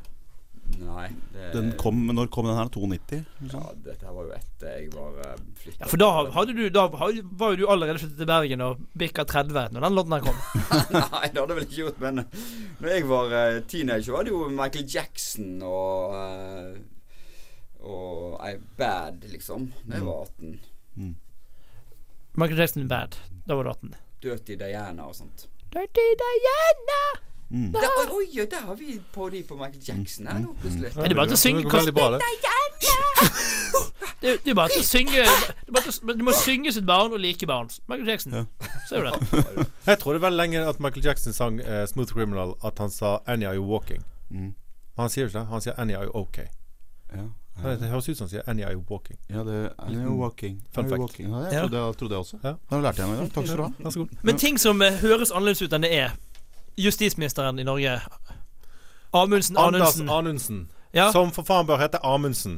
B: Nei. Det,
C: Den kom, når kom den her? 92?
B: ja, dette her var jo etter jeg var uh, flytta.
A: Ja, for da, hadde du, da had- var jo du allerede flyttet til Bergen og bikka 30 når den låten her kom.
B: <laughs> Nei, det hadde jeg vel ikke gjort, men Når jeg var eh, teenager, var det jo Michael Jackson og eh, Og I Bad, liksom. Da jeg var 18.
A: Michael Jackson Bad. Da var du 18.
B: Dirty Diana og sånt.
A: Dirty Diana!
C: Mm.
B: Da, oi, oi, der har vi parodi på Michael Jackson her nå, plutselig.
A: Er det bare til å synge
D: Det går veldig bra, det.
A: Det det er bare til å synge det er bare til å, men Du må synge sitt barn og like barn. Michael Jackson. Ser du det?
D: Jeg trodde veldig lenge at Michael Jackson sang eh, 'Smooth Criminal' at han sa 'Any are you walking'.
C: Mm.
D: Han sier jo ikke det. Han sier 'Any are you okay'.
C: Ja.
D: Det det høres ut som han sier 'Any are you walking'.
C: Ja, det er jo walking.
D: Fun
C: Are you
D: fact.
C: walking? Ja,
A: Ja.
C: jeg trodde, jeg trodde jeg også.
D: Ja.
C: Da lærte jeg noe i dag. Takk skal du ha.
D: Vær så god.
A: Men ting som eh, høres annerledes ut enn det er. Justisministeren i Norge. Amundsen
D: Anders
A: Anundsen.
D: Anundsen,
A: Ja.
D: som for faen bør hete Amundsen.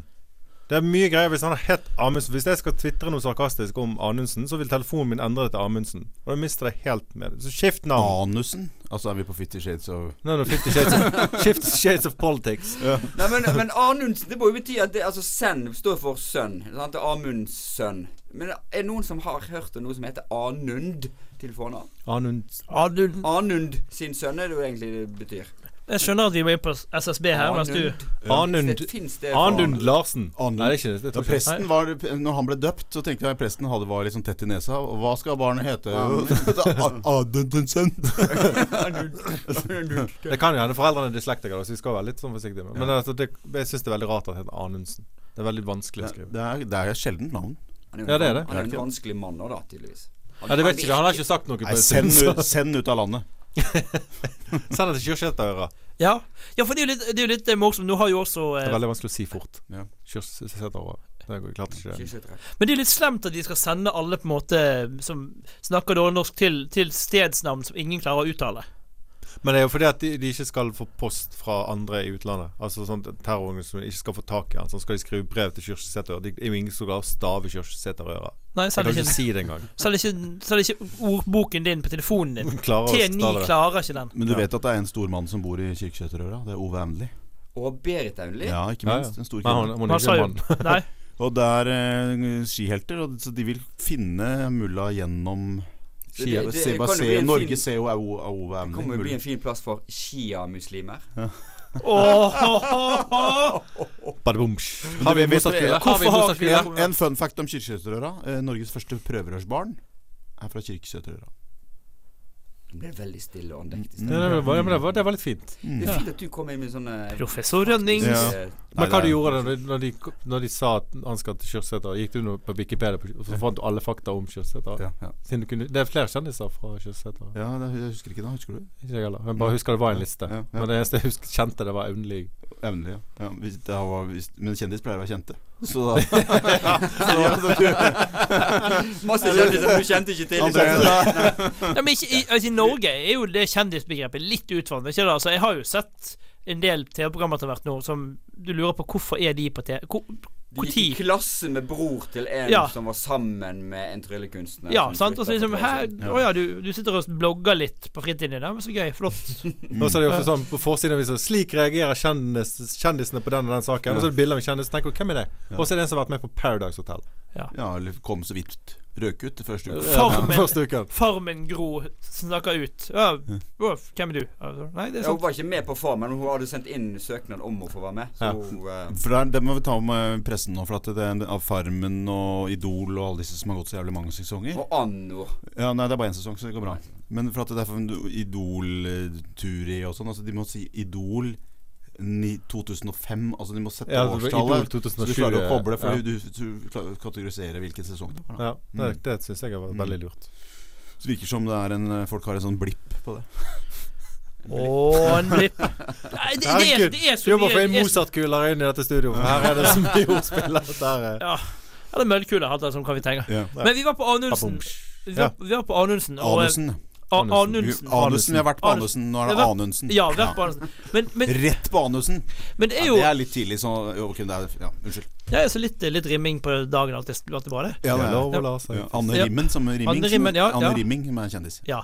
D: Det er mye greier hvis han har hett Amundsen. Hvis jeg skal tvitre noe sarkastisk om Anundsen, så vil telefonen min endre det til Amundsen. Og da mister jeg helt med det. Så skift navn.
C: Anusen. Altså er vi på Fifty Shades of
D: Nå er det 50 shades <laughs> of, shift shades of politics.
B: Nei, men, men Anundsen, det må jo bety at det, altså Send står for sønn. Sant? Det er Amunds sønn. Men er det noen som har hørt om noe som heter Anund til fornavn?
D: Anundsen.
A: Anundsen.
B: Anund sin sønn er det jo egentlig det betyr.
A: Jeg skjønner at vi må inn på SSB her. Mens du
D: Anund.
B: Fins det Eh, for- <laughs>
D: Anund Larsen. Nei, det er ikke det.
C: Da
D: det tror jeg ikke.
C: presten var, når han ble døpt, så tenkte jeg presten hadde var litt sånn tett i nesa. Og hva skal barnet hete? <laughs> Adensen.
D: Det kan jo hende foreldrene er dyslektikere, så vi skal være litt sånn forsiktige. Med. Men altså, det, jeg syns det er veldig rart at det heter Anundsen. Det er veldig vanskelig å skrive.
C: Det er, det er et sjeldent navn.
B: Han jo
D: Ja, det er
B: en-
D: det.
B: Han er en vanskelig mann nå, da, tydeligvis.
D: Ja, det vet ikke, Han har ikke sagt noe. på
C: Nei,
D: en
C: send,
D: stund, så-
C: ut- send ut av landet.
D: Send det til Kyrksæterøra. Det
A: Ja, ja for det er jo litt, det er jo litt eh, morsomt. Nå har jo også eh,
D: er veldig vanskelig å si fort.
C: Ja.
D: Kyrksæterøra. Det går klart ikke. det.
B: Ikke så rett.
A: Men det er litt slemt at de skal sende alle på en måte som snakker dårlig norsk, til, til stedsnavn som ingen klarer å uttale.
D: Men det er jo fordi at de, de ikke skal få post fra andre i utlandet. Altså sånn at terrororganisasjoner ikke skal få tak i han. Så skal de skrive brev til Kyrksæterøra. Det er jo ingen som klarer å stave Kyrksæterøra.
A: Nei,
D: Jeg
A: selv
D: kan ikke
A: ikke,
D: si det engang.
A: selv ikke, selv ikke ordboken din på telefonen din.
D: Klarer å
A: T9
D: stave det.
A: klarer ikke den.
C: Men du vet at det er en stor mann som bor i Kirkeskjøterøra? Det er Ove Aundli.
B: Og Berit Aunli.
C: Ja, ikke
D: Ja, ja.
C: minst. En stor
D: Men han,
C: kvinne.
D: han, han,
A: Han sa
D: er
A: jo
D: ikke
A: <laughs>
D: mann.
A: Nei.
C: Og det er eh, skihelter, og, så de vil finne mulla gjennom
B: Det- det- det
C: Se-
B: kan jo
C: se-
B: bli en fin-
C: Norge ser jo Ove
B: Kommer jo bli
C: Aundli.
B: en fin plass for sjiamuslimer.
A: Åhåhåhå.
D: Badabumsj. Har vi en bursdagsspiller? Har vi
A: Hvorfor
D: en
A: har
C: En,
D: bursdagsspiller?
C: en fun fact om kirkesøterøra. Eh, Norges første prøverørsbarn er fra kirkesøterøra.
B: Det ble veldig stille og andektig.
D: Ja, det var, ja, men det var, det var litt fint.
B: Det er fint at du kom inn med sånne
A: Professor Rønnings.
D: Ja.
B: eh,
D: Men
C: Nei,
D: hva
C: det
D: du
C: er-
D: gjorde da når de, når de sa at han skal til Kjørsæter? Gikk du nå på Wikipedia på- og så fant du alle fakta om Kjørsæter?
C: Ja, ja.
D: Siden du kunne, det er flere kjendiser fra Kjørsæter.
C: ja det, jeg husker ikke det. Husker du?
D: Ikke jeg heller. Jeg bare husker det var en liste.
C: Ja, ja.
D: Men det eneste jeg husker, kjente, det var Aunlig.
C: Evnelig, ja. ja hvis det var, hvis, men kjendis pleier å være kjente. Så <laughs> da så,
B: Masse kjendiser du kjente ikke til.
C: André,
B: liksom.
A: Nei, men ikke, i, altså, I Norge er jo det kjendisbegrepet litt utvannet. Ikke det? Altså, jeg har jo sett en del TV-programmer til hvert nå som du lurer på hvorfor er de på TV. Hvor,
B: De
A: hvor
B: gikk i
A: tid?
B: klasse med bror til en
A: Ja.
B: som var sammen med en tryllekunstner.
A: Ja,
B: som
A: sant? Og så
B: flyttet
A: liksom
B: fra
A: her,
B: Tønsberg.
A: Å ja, du, du sitter og blogger litt på fritiden din. Ja, men så gøy. Flott.
C: Mm.
D: Og så er det jo også sånn på forsiden av avisen Slik reagerer kjendis, kjendisene på den og den saken. Og så er det bilder av en kjendis. Tenk, hvem er det? Og så er det en som har vært med på Paradise Hotel.
C: ja, eller kom så vidt røk ut det første uka.
A: Farmen.
D: Første uken.
A: Farmen Gro snakker ut. Ja, å, hvem er du? Altså, nei, det er
B: Ja, hun
A: sant.
B: var ikke med på Far, men hun hadde sendt inn søknad om å få være med. Så
D: Ja.
B: hun eh,
C: For det, er- det må vi ta med pressen nå, for at det er av Farmen og Idol og alle disse som har gått så jævlig mange sesonger.
B: eh, Og Anno.
C: Ja, nei, det er bare én sesong, så det går bra. Men for at det er for en Idol-turi og sånn, altså de må si Idol ni- 2005, altså de må sette
D: Ja, det blir
C: årstallet.
D: Idol
C: Så du klarer å
D: 2007,
C: koble, for
D: ja.
C: du, du klarer å kategorisere hvilken sesong det var. da.
D: Ja, det, det syns jeg
C: Mm.
D: var veldig lurt.
C: Så det virker som det er en, eh, folk har en sånn blipp på det.
A: Å, en blipp. Nei, det, det, er, det er så
D: Jobber for
A: mye
D: en
A: det er så-
D: Mozart-kuler inn i dette studioet. Her er det så mye ordspill. at det er-
A: Ja, eller møllkuler, hatt det som kan vi trenge.
C: Ja.
A: Men vi var på Anundsen. Vi var, vi var på Anundsen. Og, eh,
C: Anundsen.
A: A-
C: Anundsen.
A: Anundsen.
C: Vi har vært på
A: Anundsen.
C: Anundsen. Nå er
A: Vi
C: det
A: har vært-
C: Anundsen.
A: Ja, vært på Anundsen. Men, men,
C: Rett på Anundsen.
A: men det er
C: Ja,
A: jo
C: det er litt tidlig, så ok, det er, ja, Unnskyld.
A: Jeg er så litt, litt rimming på dagen at det at det var det.
C: Ja,
D: Det er
C: det er,
D: lov å la seg.
C: ja, Anne
A: Ja.
C: Rimmen som rimming.
A: Anne Rimmen, ja,
C: Anne
A: ja.
C: Rimming som er en kjendis.
A: Ja,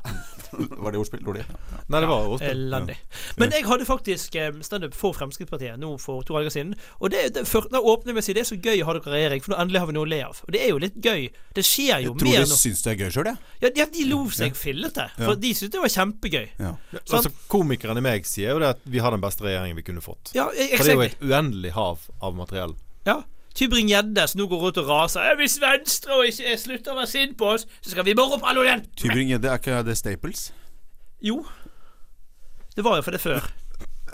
C: Var det ordspill? Dårlig? Ja.
D: Nei, det var ordspill.
A: elendig. Men jeg hadde faktisk eh, standup for Fremskrittspartiet nå for to helger siden. Og det, det, før, da åpner jeg med å si det er så gøy å ha dere i regjering, for nå endelig har vi noe å le av. Og det er jo litt gøy. Det skjer jo
C: Jeg tror
A: mer
C: de
A: nå.
C: syns det er gøy sjøl, jeg.
A: Ja, de, de lo seg fillete, for de syntes det var kjempegøy.
C: Ja.
D: Altså, komikeren i meg sier jo det at vi har den beste regjeringen vi kunne fått.
A: Ja, e-
D: For det er jo
A: exactly.
D: et uendelig hav av materiell.
A: Ja. Tybring-Gjedde som nå går rundt og raser. «Eh, Hvis Venstre og ikke eh, slutter å være sint på oss, så skal vi bare opp alle igjen!
C: Tybring-Gjedde, er ikke det Staples?
A: Jo. Det var jo for det før.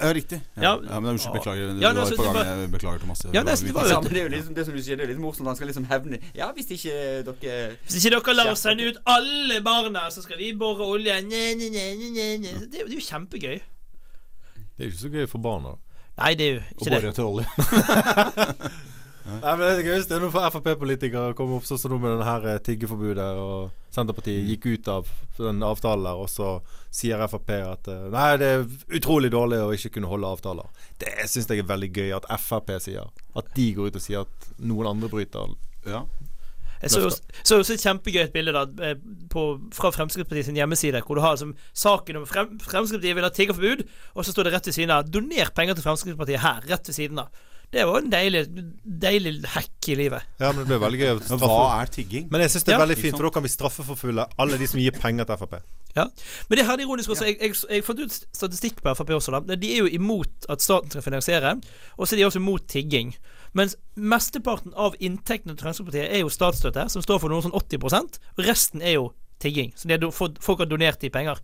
C: Ja, riktig. Ja,
A: Ja.
C: ja men Unnskyld, beklager.
A: Ja,
C: det
A: nei,
C: var
A: så
C: på
A: det var-
C: gang jeg beklager, Thomas.
A: Ja, nei, så det var jo-
B: Ja, men det er jo liksom det som du sier, det er litt morsomt. Han skal liksom hevne Ja, hvis ikke dere
A: Hvis ikke dere lar oss sende ut alle barna, så skal vi bore olje. Nye, nye, nye, nye, nye. Det, er jo- det er jo kjempegøy.
D: Det er jo ikke så gøy for barna.
A: Nei, det er jo
C: Og
A: ikke
C: bore
A: det.
C: etter olje.
D: Nei, men Det er gøyeste er når Frp-politikere kommer opp sånn som nå med denne her eh, tiggeforbudet, og Senterpartiet gikk ut av den avtalen der, og så sier Frp at eh, Nei, det er utrolig dårlig å ikke kunne holde avtaler. Det syns jeg er veldig gøy at Frp sier. At de går ut og sier at noen andre bryter.
C: Ja.
A: Jeg så jo så jo også et kjempegøy et bilde da, eh, på, fra Fremskrittspartiet sin hjemmeside, hvor du har liksom, saken om frem, Fremskrittspartiet vil ha tiggerforbud, og så står det rett ved siden av 'Doner penger til Fremskrittspartiet her', rett ved siden av. Det var en deilig, deilig hekk i livet.
D: <laughs> Ja, men det blir veldig gøy. å
C: Men
D: straffe-
C: hva er tigging?
D: Men jeg syns det
A: Ja.
D: er veldig fint, for da kan vi straffeforfølge alle de som gir penger til Frp.
A: Ja. Men det er herlig ironisk også. Jeg, jeg, jeg fant ut statistikk på Frp også. Da. De er jo imot at staten skal finansiere, og så er de også imot tigging. Mens mesteparten av inntektene til Fremskrittspartiet er jo statsstøtte, som står for noe sånn 80 og resten er jo tigging. Så de har do- fått, folk har donert de penger.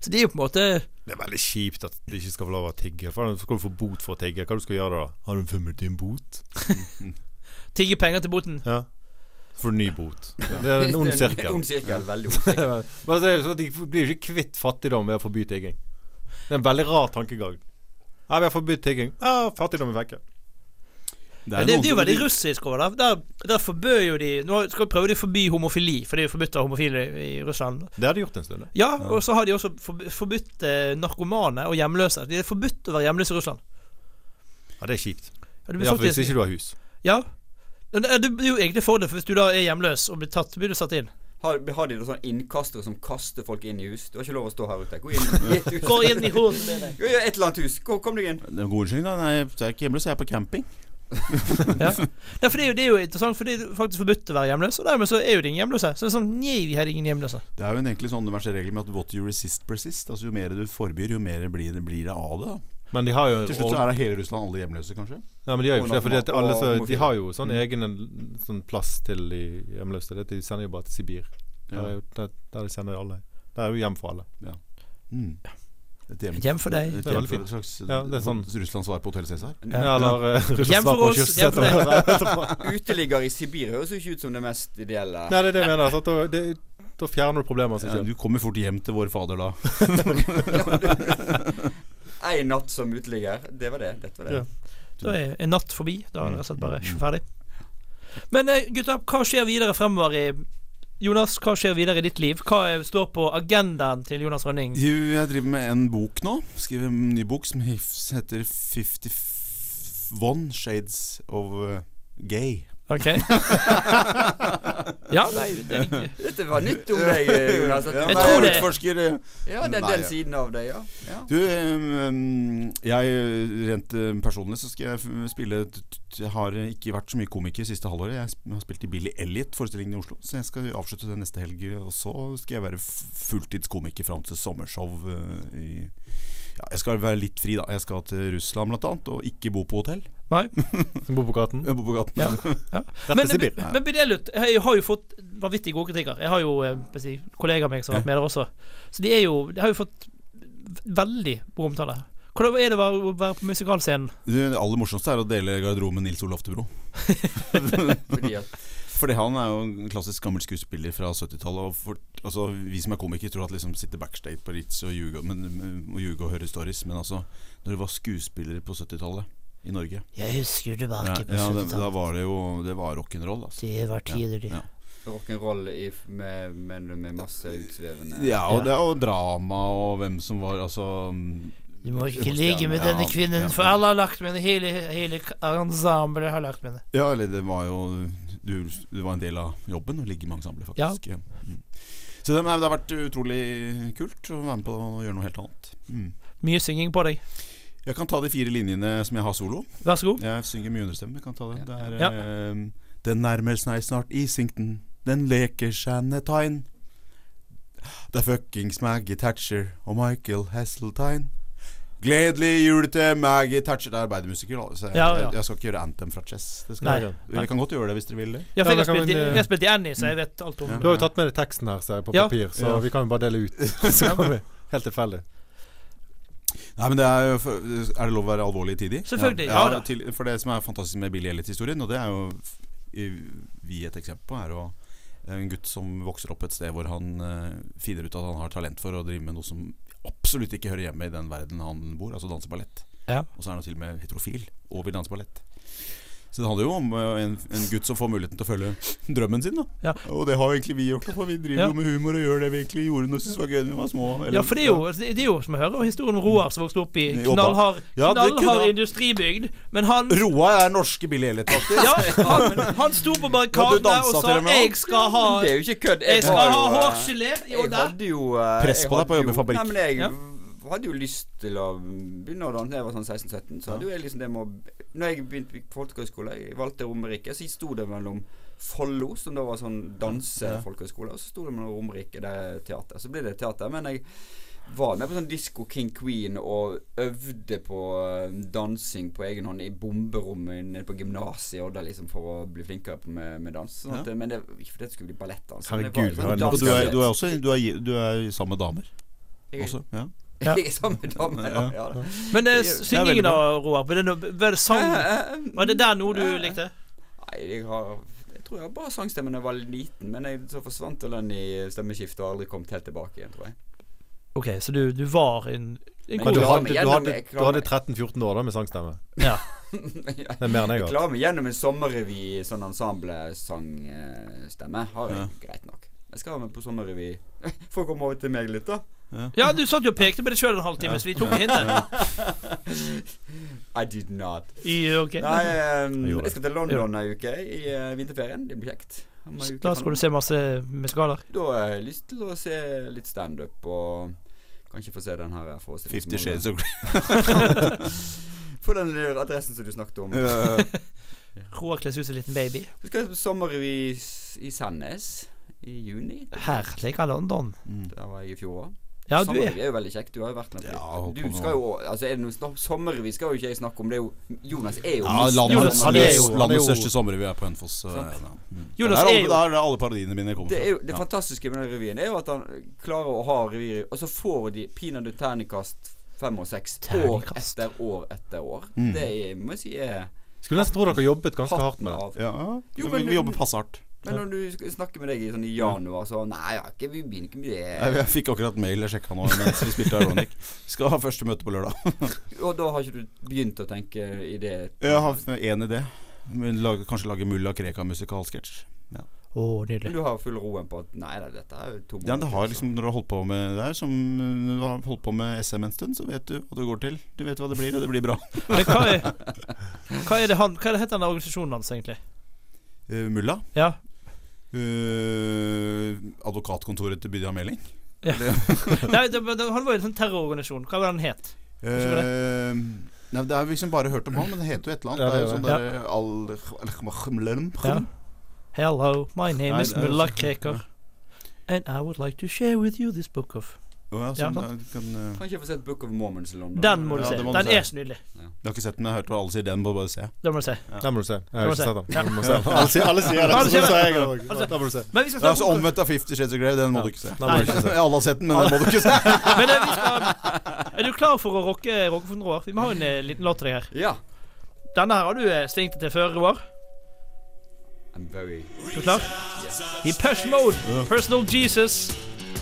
A: Så de er jo på en måte
D: Det er veldig kjipt at de ikke skal få lov å tigge. For da skal du få bot for å tigge. Hva du skal gjøre da? Har du en femmertim bot?
A: tigger penger til boten.
D: Ja. Får du ny bot. <laughs> Det er <laughs> en ond sirkel.
B: Ond sirkel. Veldig ond sirkel.
D: Men altså, det er jo sånn at de blir ikke kvitt fattigdom ved å forby tigging. Det er en veldig rar tankegang. Ja, vi har forbudt tigging. Ja, fattigdom er vekke.
A: Ja, det,
C: noen
A: det er jo
C: som-
A: veldig russisk over det. Der, der forbød jo de Nå skal prøve de å forby homofili, for det er jo forbudt av homofile i i Russland.
D: Det har de gjort en stund. det.
A: Ja, og så har de også forb- forbudt eh, narkomane og hjemløse. Det er forbudt å være hjemløs i Russland.
D: Ja, det er kjipt.
A: Ja, du blir
D: Ja,
A: satt
D: for hvis
A: i-
D: ikke du har hus.
A: Ja. Men det er- Du blir jo egentlig for det, for hvis du da er hjemløs og blir tatt, blir du satt inn.
B: Har, har de noen sånne innkastere som kaster folk inn i hus? Du har ikke lov å stå her ute. Gå inn i et hus.
A: Gå inn i hodet med deg.
B: Ja, ja, Et eller annet hus. Kom, kom deg inn.
C: Det er en god unnskyldning, da. Nei, jeg er ikke hjemløs, jeg er på camping.
A: <laughs> Ja. ja, for det er, jo, det er jo interessant, for det er faktisk forbudt å være hjemløs, og dermed så er jo det ingen hjemløse. Så det er sånn Nei, vi har ingen hjemløse.
C: Det er jo en egentlig sånn universell regel med at what you resist, persist. Altså Jo mer du forbyr, jo mer blir, blir det av det. da.
D: Men de har jo
C: Til slutt så er det hele Russland alle hjemløse, kanskje?
D: Nei, men de gjør jo ikke det, fordi at alle så,
B: Og- og-
D: de har jo sånn egen sånn plass til de hjemløse. Det at De sender jo bare til Sibir. Der, er jo, der, der de sender alle. Der er jo hjem for alle.
C: Mm. Et hjem.
A: Hjem for deg.
C: Et
D: Det er
C: hjem
D: veldig
C: for
D: fint.
C: et slags
D: Ja, det er sånn-
C: Russlands svar på Hotell Cæsar.
D: Ja, eller eh,
A: Hjem
D: Russland
A: for
D: på
A: oss, hjem for
D: kjøttseter.
B: Uteligger i Sibir høres jo ikke ut som det mest ideelle.
D: <laughs> Nei, det er det jeg mener. Så at da, det, da fjerner du problemer.
C: Ja,
D: Sånn.
C: du kommer fort hjem til vår fader da.
B: Ei natt som uteligger. Det var det. Dette var det.
D: Ja.
A: Da er en natt forbi. Da er det rett og slett bare
D: Mm.
A: ferdig. Men eh, gutta, hva skjer videre fremover i Jonas, hva skjer videre i ditt liv? Hva er, står på agendaen til Jonas Rønning?
C: <laughs> Jo, jeg driver med en bok nå. Skriver en ny bok som hif- heter 51 Shades of eh, Gay.
D: <laughs>
A: Ok Ja, nei, det er ikke
B: Dette var nytt om deg, Jonas. At du
C: Ja,
A: Jeg tror
B: var-
A: det-
C: Utforsker eh,
B: Ja, den,
C: Nei,
B: den
C: ja.
B: siden av deg, ja. ja.
C: Du, ehm, jeg rent eh, personlig så skal jeg f- spille t- t- Jeg har ikke vært så mye komiker siste halvåret. Jeg sp- har spilt i Billy Elliot-forestillingen i Oslo, så jeg skal avslutte det neste helg. Og så skal jeg være f- fulltidskomiker fram til sommershow eh, i ja, Jeg skal være litt fri, da. Jeg skal til Russland blant annet, og ikke bo på hotell.
A: Nei.
D: Som bor på gaten.
C: Jeg bor på gaten.
A: Ja. Men,
D: Rett til Sibir.
A: men Bidelut jeg har jo fått vanvittig gode kritikker. Jeg har jo eh, hva skal jeg si, kollegaer av meg som har vært med der også. Så de, er jo, de har jo fått v- veldig god omtale. Hvordan er det å være- å være på musikalscenen?
C: Det aller morsomste er å dele garderoben med Nils Olof Tebro.
B: Fordi at
C: Fordi han er jo en klassisk gammel skuespiller fra 70-tallet. Og for, altså, vi som er komikere, tror at liksom sitter backstage på Ritz og ljuger men- og ljuger og hører stories. Men altså, når det var skuespillere på 70-tallet i Norge
E: Jeg husker
C: ja,
E: tilbake
C: ja, det, Da var det jo Det var rock'n'roll, altså.
E: Det var tider, det.
C: Ja.
B: rock'n'roll i- med, med, med masse utsvevende
C: Ja, og det er jo drama og hvem som var Altså
E: Du må ikke
C: Stjerne.
E: ligge med denne
C: Ja, ja.
E: kvinnen, for alle har lagt med henne. Hele, hele ensemblet har lagt med henne.
C: Ja, eller det var jo Du, det var en del av jobben å ligge med ensemblet, faktisk. Ja. Mm. Så det, nei, det har vært utrolig kult å være med på å gjøre noe helt annet. Mm.
A: Mye synging på deg.
C: Jeg kan ta de fire linjene som jeg har solo.
A: Vær så god.
C: Jeg synger mye understemme. jeg Kan ta den. Det er
A: Ja.
C: ehm, Den nærmer seg snart Isington. Den leker Shannatyne. Det er fuckings Maggie Thatcher og Michael Hasseltine. Gledelig jul til Maggie Thatcher. Det er arbeidermusiker, da. Så jeg,
A: Ja, ja.
C: jeg, jeg skal ikke gjøre Anthem fra Chess. Det skal
A: Nei.
C: jeg ikke. Dere kan godt gjøre det hvis dere vil det.
A: Ja, for jeg
D: Ja,
A: har
D: da kan
A: spilt, i-
D: vi-
A: jeg har spilt i Annie, så jeg vet alt om
C: eh, Ja.
A: det.
D: Du har jo tatt med deg teksten her, ser jeg, på
A: Ja.
D: papir, så
C: Ja.
D: vi kan jo bare dele ut. Så kan vi, helt tilfeldig.
C: Nei, men det er, jo for- er det lov å være alvorlig i tider?
A: Selvfølgelig, ja da.
C: til, For det som er fantastisk med Billy Elliot-historien, og det er jo f- i- vi et eksempel på, er jo en gutt som vokser opp et sted hvor han eh, finner ut at han har talent for å drive med noe som absolutt ikke hører hjemme i den verden han bor, altså danse ballett.
A: Ja.
C: Og så er han til og med heterofil og vil danse ballett. Så det handler jo om eh, en, en gutt som får muligheten til å følge drømmen sin, da.
A: Ja.
C: Og det har jo egentlig vi gjort, da, for vi driver
A: Ja.
C: jo med humor og gjør det vi egentlig gjorde når vi var gøy da vi var små. eller-
A: Ja, for det er jo, det er jo som jeg hører, historien om Roar som vokste opp i
C: Jobba.
A: knallhard,
C: Ja, det kunne
A: knallhard
C: han.
A: industribygd, men han
C: Roa er norske Billy Elliot, faktisk.
A: ja, han, han sto på
C: Ja, du
A: barrikadene
C: dansa
A: og sa
C: til og med,
A: 'Jeg skal ha
B: Det er jo ikke kødd.
A: Jeg skal
B: var
A: ha
B: jo, eh,
A: hårgelé <laughs> i
B: Jeg
A: der.
B: hadde jo eh,
C: Press
B: jeg
C: på deg på
B: hadde
C: å jobbe i
B: jo-
C: fabrikk.
B: Nei, men jeg
A: Ja.
B: v- hadde jo lyst til å begynne å danse da jeg var sånn 16-17. Så hadde jo jeg liksom det med å Når jeg begynte på folkehøyskole, jeg valgte Romerike, så sto det mellom Follo, som da var sånn dansefolkehøyskole, og så sto det mellom Romerike der teater. Så ble det teater. Men jeg var med på sånn Disko King Queen og øvde på eh, dansing på egen hånd i bomberommet nede på gymnaset i Odda liksom for å bli flinkere på med, med dans. Sånn at, Men det ikke fordi det skulle bli ballettdans. men det var sånn
D: Herregud, det var en-
C: Og du er,
B: dansebalett.
C: du er også du er, du er sammen med damer
B: Jeg-
C: også? Ja.
B: <laughs>
A: Ja.
B: Jeg er sammen med damen, ja. ja da.
A: Men eh,
B: Det er
A: syngingen
C: veldig
A: da,
C: bra.
A: Roar, var det, noe- var det sang? Var det der noe du likte?
B: Eh, Nei, jeg har Jeg tror jeg har bra sangstemme da jeg var liten, men jeg, så forsvant vel den i stemmeskiftet og har aldri kommet helt tilbake igjen, tror jeg. <laughs>
A: Ok, så du, du var en, en
D: Men
A: god
D: du
B: klarer
D: hadde,
B: meg
D: du
B: gjennom,
D: hadde,
B: jeg klarer
D: du hadde
B: meg.
D: 13-14 år da med sangstemme.
A: ja.
D: Det er mer enn jeg
B: Jeg
D: har.
B: klarer meg gjennom en sommerrevy i sånn ensemblesangstemme. Har jeg greit nok. Jeg skal ha meg på sommerrevy. <laughs> Får komme over til meg litt, da.
A: ja, du satt jo og pekte på det sjøl en halvtime, så vi tok hintet.
B: I did not.
A: I, ok.
B: Nei, ehm,
D: Jeg gjorde
B: jeg skal til London ei uke i eh, vinterferien. Det blir kjekt. Om ei uke
A: Da
B: kan-
A: skal du se masse musikaler.
B: Da har jeg lyst til å se litt standup og kanskje få se den her forestillingen.
C: Fifty
B: som
C: Shades of Grey.
B: På den adressen som du snakket om.
A: <laughs> Roar kles ut som en liten baby.
B: Du skal på sommerrevy i Sandnes i juni.
A: Her ligger London.
B: Der var jeg i fjor òg.
A: Ja, du
B: Sommerrevy
A: er
B: er jo veldig kjekt. Du har jo vært med på
C: Ja, holdt
B: Du
C: på med
B: skal jo Altså, er det noe snakk Sommerrevy skal jo ikke jeg snakke om. Det er jo Jonas er jo
C: Ja,
B: mest-
C: landets,
A: Jonas, han er jo- han er
C: landets
D: jo-
C: største sommerrevy er på Hønefoss. eh,
B: Sant.
C: ja. Mm.
A: Jonas
C: Der
A: er
C: alle-
A: jo
C: Der er alle parodiene mine kommer
B: Det,
C: fra.
B: er jo, det
C: Ja.
B: fantastiske med den revyen er jo at han klarer å ha revyer, og så får de peanøtter terningkast fem og seks år
A: Terningkast.
B: etter år etter år.
C: Mm.
B: Det er, må jeg si er
D: Skulle nesten tro dere jobbet ganske hardt med det.
B: av.
C: Ja,
B: Jo,
C: vi-
B: men-
C: vi jobber passe hardt.
B: Men når du sk- snakker med deg i, sånn, i januar, så Nei, jeg har ikke, vi begynner ikke med
A: Eh.
C: Jeg,
B: det.
C: jeg fikk akkurat mail jeg sjekka nå mens vi spilte Ironic. Skal ha første møte på lørdag.
B: Og da har ikke du begynt å tenke i det
C: <laughs> Jeg har én idé. Men lage- Kanskje lage Mulla Krekar-musikalsketsj.
A: Å, nydelig.
B: Men du har full roen på at Nei da, dette er jo to
C: Ja, det har
B: måneder,
C: liksom, når du har holdt på med det her, som uh, har holdt på med SM en stund, så vet du hva det går til. Du vet hva det blir, og det blir bra.
A: Men hva er, hva er det han Hva er det heter den der organisasjonen hans, egentlig?
C: Eh, Mulla.
A: Ja.
C: eh, advokatkontoret til Bydia Meling.
A: Nei, det, det, han var jo en sånn terrororganisasjon. Hva var det han het? Husker du
C: Eh, Nei, Det har vi liksom bare hørt om han, men det heter jo et eller annet.
D: Ja,
C: det er jo
D: det
C: sånn
A: er
C: der Al-Khmlem
A: Ja. Hello, my name
C: Nei,
A: is
C: det er jo
A: Mullah
C: sånn-
A: Krekar. And I would like to share with you this book of
C: ja,
A: Ja,
C: sånn,
A: sant.
C: jeg kan, eh,
B: Kan ikke få sett Book of Mormons i London.
A: Den må du
C: Ja,
A: se.
C: det må du
A: Den
C: se.
A: er så nydelig.
C: Jeg har ikke sett den, men jeg har hørt hva alle sier. Den må du bare se.
A: Den må du se.
D: Den må du se. Jeg
A: Den
D: har
A: må du
D: ikke sett den.
A: se.
D: Den må du
C: <laughs>
D: se. Alle sier, alle sier
A: Alle sier det. Alle
D: det, så sa jeg det
A: sier
D: òg. Den må du se.
A: Men vi skal
C: Det er
A: snakke
C: altså
A: om
C: omvendt av Fifty Shades of Grey. Den må du ikke se.
D: Den må du ikke se.
C: Alle har sett den, men den må du ikke se.
A: Men eh, vi skal Er du klar for å rocke Rockefoten, Roar? Vi må ha en eh, liten låt til deg her.
B: Ja.
A: Denne her har du eh, svingt deg til før, Roar.
B: I'm very
A: Er du klar? I push mode. Personal Jesus.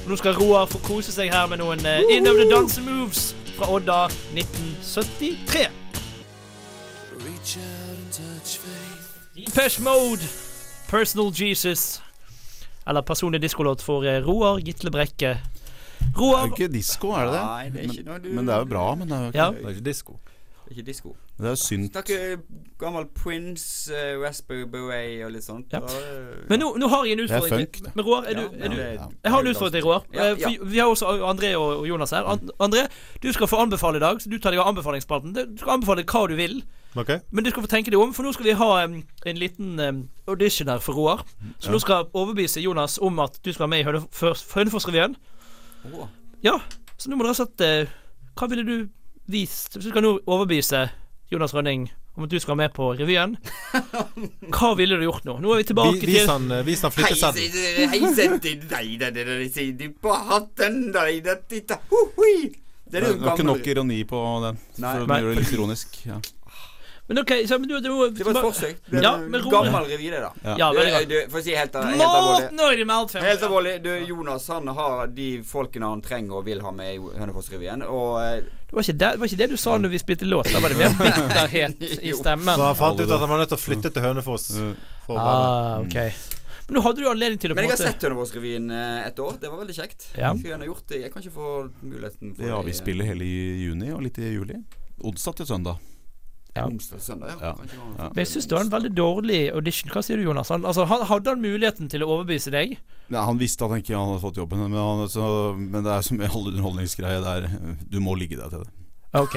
A: Og Nå skal Roar få kose seg her med noen eh, In of the Dance Moves fra Odda 1973. Depeche Mode, Personal Jesus. Eller personlig diskolåt for eh, Roar Gitle Brekke.
C: Det er
A: Roar
C: jo ikke disko, er det det?
B: Nei, det er ikke noe du
C: Men, men det er jo bra. Men det er jo ikke,
A: Ja.
D: Det er ikke disko.
B: Det er Ikke disko.
C: det er jo synt.
B: Snakke gammel Prince, uh, Raspberry Beret og litt sånt.
A: Ja.
B: Og, eh,
A: Men nå, nå har jeg en
C: Det er
A: utfordring.
C: funk, det.
A: Men Roar, er du,
B: ja,
A: er du
B: det-
A: Jeg har en utfordring til Roar.
B: Ja,
A: Eh, for
B: ja.
A: Vi har også André og og Jonas her. An- André, du skal få anbefale i dag. Så Du tar deg av anbefalingsspalten. Du skal anbefale hva du vil.
D: Ok?
A: Men du skal få tenke deg om, for nå skal vi ha em, en liten em, audition her for Roar. Så nå skal jeg overbevise Jonas om at du skal være med i Hønefors- Hønefoss-revyen.
B: Åh.
A: Ja, så nå må dere ha sett eh, Hva ville du vist Hvis du skal nå overbevise Jonas Rønning om at du skal være med på
B: <laughs>
A: revyen, hva ville du gjort nå? Nå er vi tilbake
D: Vi- Vis
A: til
D: han, eh, vis han
B: Hei,
D: flytteseddelen.
B: se- hei, sett deg, deg, deg, deg, deg, se deg på hatten, deg, deg, deg, deg, ho, hoi. Det
C: Det
B: er jo
C: var ikke
B: gammel-
C: nok ironi på den.
B: Nei.
C: For
A: Nei.
C: å gjøre det litt ironisk. Ja.
A: Men OK, så, men du, du må
B: Det var et forsøk. Det er
A: Ja,
B: en
A: men Roar-
B: gammel revy, det, da.
A: Ja,
B: Du,
A: veldig godt.
B: du, for å si helt, helt alvorlig
A: Måten over i Maltfjell.
B: Helt alvorlig, du, Jonas han har de folkene han trenger og vil ha med i Hønefoss-revyen. Og eh,
A: Det var, ikke det, det var ikke det du sa når vi spilte låt. Da var
B: <laughs>
A: det mer bitterhet i stemmen.
D: Så han fant ut at han var nødt til å flytte til Hønefoss. For å være
A: Ah, ok Men nå hadde du anledning til å på
B: Men
A: en
B: jeg har
A: måte
B: sett Hønefoss-revyen eh, et år. Det var veldig kjekt.
A: Ja.
B: Skulle gjerne gjort det. Jeg kan ikke få muligheten for
C: ja,
B: det i-
C: vi spiller hele juni og litt i juli. Onsdag til søndag.
A: Ja.
B: onsdag og søndag. Ja.
C: Ja.
B: Kan ikke ha-
C: Ja.
A: Men jeg syns det var en veldig dårlig audition. Hva sier du, Jonas? Han, altså, han, hadde han muligheten til å overbevise deg?
C: Nei, han visste at han ikke hadde fått jobben, men, han, så, men det er som med all underholdningsgreie der. Du må ligge deg til det.
A: <laughs> Ok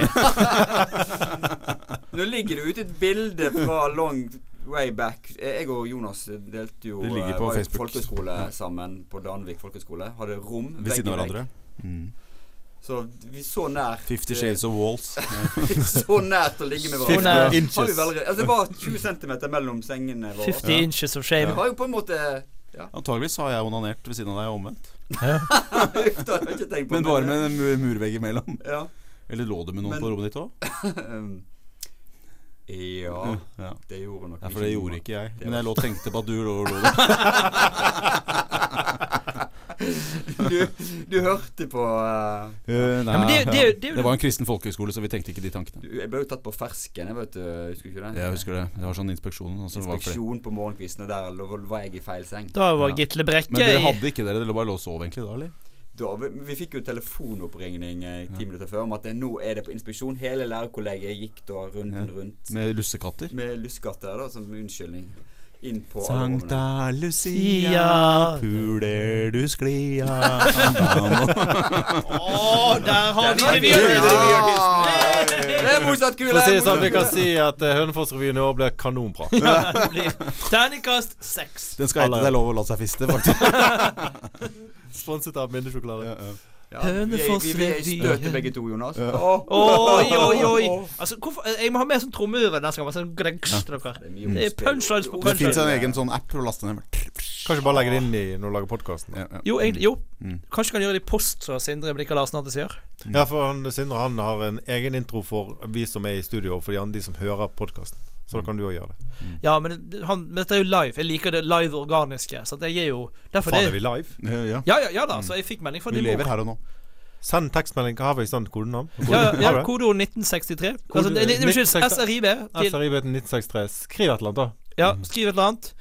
B: Nå ligger det ute et bilde fra long way back. Jeg og Jonas delte jo
C: Det ligger
B: eh,
C: på
B: var jo
C: Facebook.
B: folkeskole sammen på Danvik folkeskole. Hadde rom
C: Ved
B: vegg i
C: siden av
B: vegg.
C: hverandre. Mm.
B: Så vi så nært
C: Fifty Shades of Walls.
B: <laughs> Så nært å ligge med
A: Fifty
B: hverandre.
D: inches.
B: Har vi vel- altså, det var 20 cm mellom sengene våre.
A: 50 inches of
B: Det
A: shame.
B: var jo på en måte
C: Antageligvis har jeg onanert ved siden av deg og omvendt.
B: Uff, det hadde jeg ikke tenkt på.
C: Men bare med en mu- murvegg imellom.
B: Ja. <laughs>
C: Eller lå det med noen
B: Men-
C: på rommet ditt òg?
B: Um, ja,
C: <laughs> Ja.
B: det gjorde nok
C: Ja, for det gjorde ikke jeg.
B: Det
C: Men
B: var-
C: jeg lå og tenkte på at du lå og lå der.
B: <laughs> Du, du hørte på eh,
C: Eh, nei,
A: Ja, men det- det er jo- det er jo-
C: det var en kristen folkehøyskole, så vi tenkte ikke de tankene.
B: du, Jeg ble jo tatt på fersken, jeg vet du. Husker du ikke det?
C: Jeg husker det. Det var sånn inspeksjon. Og så var det flere.
B: Inspeksjon på morgenkvisten, og der lå- var jeg i feil seng.
A: Da var
C: Ja.
A: Gitle Brekke
C: Men dere
A: i-
C: hadde ikke dere? Dere bare lå og sov egentlig da, eller?
B: Da, vi, vi fikk jo telefonoppringning eh, ti minutter før om at det, nå er det på inspeksjon. Hele lærerkollegiet gikk da runden
C: Ja.
B: rundt
C: Med lussekatter?
B: med lussekatter da, som unnskyldning inn på alle rommene.
C: Sankta
A: Ja.
C: Lucia, puler du sklia Andamo.
A: Å, der har vi det! Vi
B: Ja!
A: gjør det.
B: Det er motsatt kule!
D: For å si det sånn, vi
B: motsatt
D: kan
B: kule.
D: si at eh, Hønefoss-revyen i år blir
A: <laughs>
D: kanonbra.
A: Det blir Terningkast seks.
C: Den skal hete 'Det er lov å la seg fiste', faktisk.
D: Sponset av Mindesjokolade.
B: Ja, vi er- vi- vi er i
A: Hønefoss-revyen.
B: støtet begge to, Jonas. Åh.
A: Oi, oi, oi. Altså, hvorfor, jeg må ha med sånn trommeøver neste gang. bare Sånn, greng, til dere.
B: Det er mye
A: Det er
B: ordspill.
A: punchlines på
C: Det fins
A: punchlines.
C: en egen sånn app for å laste ned.
D: Kanskje bare legge det inn i når du lager podkasten.
C: Ja, ja.
A: Jo, egentlig, jo.
C: Mm.
A: kanskje kan gjøre det i post, som Sindre Blikka Larsen alltid sier.
D: Ja, for han, Sindre han har en egen intro for vi som er i studio, og for de andre de som hører podkasten. Så da kan du òg gjøre det.
A: Ja, men, det- han, men dette er jo live. Jeg liker det live organiske. Så at jeg er jo Derfor
D: Faen, er
A: det
D: vi Mm. live?
C: Ja, ja.
A: Ja, ja, ja da. Så jeg fikk melding fra
C: Vi
A: din mor.
C: lever her og nå.
D: Send tekstmelding. Hva har vi i stand kodenavn?
A: Ja, ja,
D: Har
A: ja
D: vi det?
A: kodeord 1963. Altså,
D: Kode-
A: det, det, det, unnskyld,
D: 1963.
A: SRIB. Til,
D: SRIB 1963. Skriv et eller annet, da.
A: ja, skriv et eller annet.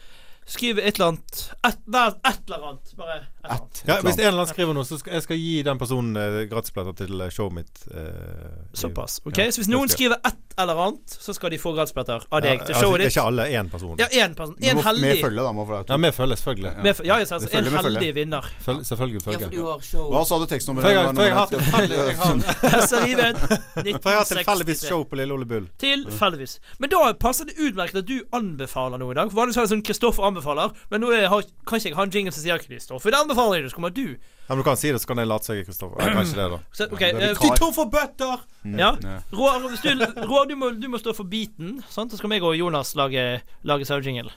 A: Skriv et eller annet Et, vær et eller annet. Bare et eller annet.
C: Ett.
D: Ja, hvis en eller annen skriver noe, så skal jeg skal gi den personen eh, gratisbilletter til eh, showet mitt. Eh, i-
A: Såpass. ok?
D: Ja,
A: Så hvis noen
D: det skal
A: skriver et eller annet, så skal de få gratisbilletter av
D: Ja,
A: deg til
D: altså,
A: showet
D: Ikke
A: ditt.
D: alle, én person.
A: Ja, én person.
C: Vi
A: Én
C: må- Med
A: heldig.
C: følge, da. Må få det.
D: Ja, vi følger, selvfølgelig.
A: Med, f- ja, jeg sa altså,
C: Følge
A: en
C: med følge.
A: heldig vinner. <laughs>
D: Føl, selvfølgelig
B: Ja, for
D: følger.
B: du har show.
C: Hva sa du tekstnummeret?
D: For jeg
C: var?
D: har- for jeg har hatt
C: Ja, <laughs>
A: SRIB
D: <laughs> For jeg har tilfeldigvis
A: 1963.
D: show på Lille Ole Bull.
A: Tilfeldigvis. Men da passer det utmerket at du anbefaler noe i dag. For Vanligvis er det sånn Kristoffer anbefaler, men nå er, har, kan ikke jeg ha en jingle som sier Kristoffer det anbefaler jeg, så kommer du.
D: Ja, men du kan si det, så kan jeg late seg Kristoffer. Nei, kanskje det, da.
A: Så, ok,
C: det er
A: eh,
C: vikar.
A: Kristoffer Bøtter! Ja.
C: ja.
A: Roar, hvis du, Roar du, må, du må stå for beaten, sant? så skal meg og Jonas lage, lage sauejingle.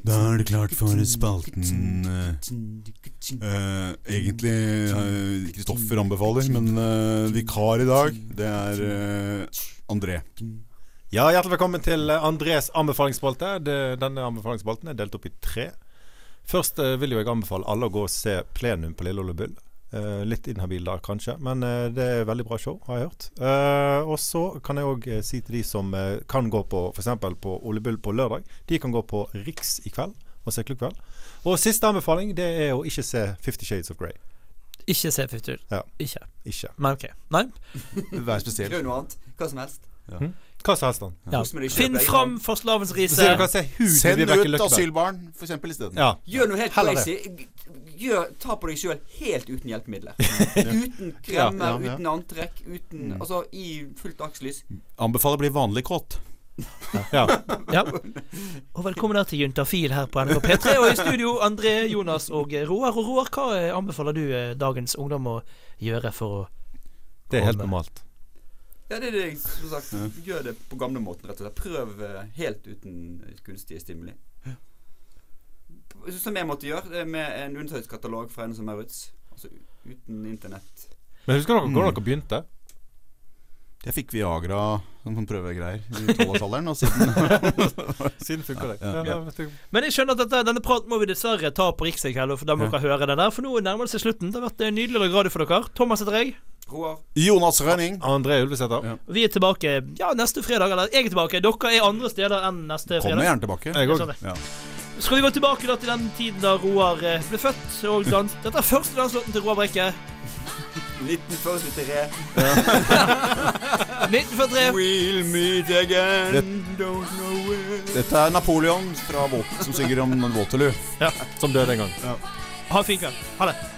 C: Da er det klart for spalten eh, Egentlig eh, Kristoffer anbefaler, men eh, vikar i dag, det er eh, André.
D: Ja, Hjertelig velkommen til eh, Andres anbefalingsspalte. Det- Denne anbefalingsspalten er delt opp i tre. Først eh, vil jo jeg anbefale alle å gå og se Plenum på Lille Ole Bull. Eh, litt inhabil der, kanskje, men eh, det er veldig bra show, har jeg hørt. Eh, og så kan jeg òg si til de som eh, kan gå på f.eks. på Ole Bull på lørdag, de kan gå på Riks i kveld og se Klukkveld. Og siste anbefaling det er å ikke se Fifty Shades of Grey.
A: Ikke se Futur.
D: Ja.
A: Ikke.
D: Ikke.
A: Men ok. Nei.
C: Vær spesiell.
B: Gjør noe annet. Hva som helst.
D: Hva sa Hestan?
A: Ja.
B: Kos med deg selv,
A: Finn
B: jeg kan-
A: fram for slavens
D: Så sier
A: rise.
D: du kan se huden til
C: Send
D: Vibeke
C: ut
D: Løkkeberg.
C: asylbarn, for eksempel, isteden.
D: Ja.
B: Gjør noe helt
D: Heller
B: crazy. Gjør, ta på deg sjøl helt uten hjelpemidler. uten
C: Ja,
B: kremmer,
C: ja.
B: uten antrekk, uten Altså i fullt dagslys.
C: Anbefaler å bli vanlig kåt.
D: ja. <laughs>
A: Ja. Og velkommen her til Juntafil her på NRK P3. Og i studio André, Jonas og eh, Roar. Og Roar, hva eh, anbefaler du eh, dagens ungdom å gjøre for å
D: Det er helt
A: Om-
D: normalt.
B: Ja, det er det jeg som sagt. Gjør det på gamlemåten, rett og slett. Prøv eh, helt uten kunstige stimuli. Som jeg måtte gjøre, det er med en undersøkelseskatalog fra en som Maurits. Altså u- uten internett.
D: Men husker dere hvordan dere begynte?
C: Jeg fikk Viagra som sånn prøvegreier i tolvårsalderen, og siden <laughs>
D: Siden funker det.
C: Ja, ja.
D: Ja, ja.
A: Men jeg skjønner at dette, denne praten må vi dessverre ta på Riks i kveld, og for da må dere høre det der. For nå nærmer det seg slutten. Det har vært eh, nydelig å lage radio for dere. Thomas heter jeg.
B: Roar,
C: Jonas Rønning.
D: André Ulvesæter.
C: Ja.
A: Vi er tilbake ja, neste fredag. Eller jeg er tilbake. Dere er andre steder enn neste
C: Kommer
A: fredag.
C: gjerne tilbake.
D: Jeg
A: Det er
D: òg.
A: sånn det.
C: Ja.
A: Skal vi gå tilbake da til den tiden da Roar eh, ble født og dans... Dette er første danslåten til Roar
C: <laughs>
A: Brekke.
B: 1943.
A: 1943.
B: We'll meet again, don't know where.
C: Dette er Napoleon fra Vol som synger om Waterloo.
D: Som døde en gang.
A: Ha en fin kveld. Ha det.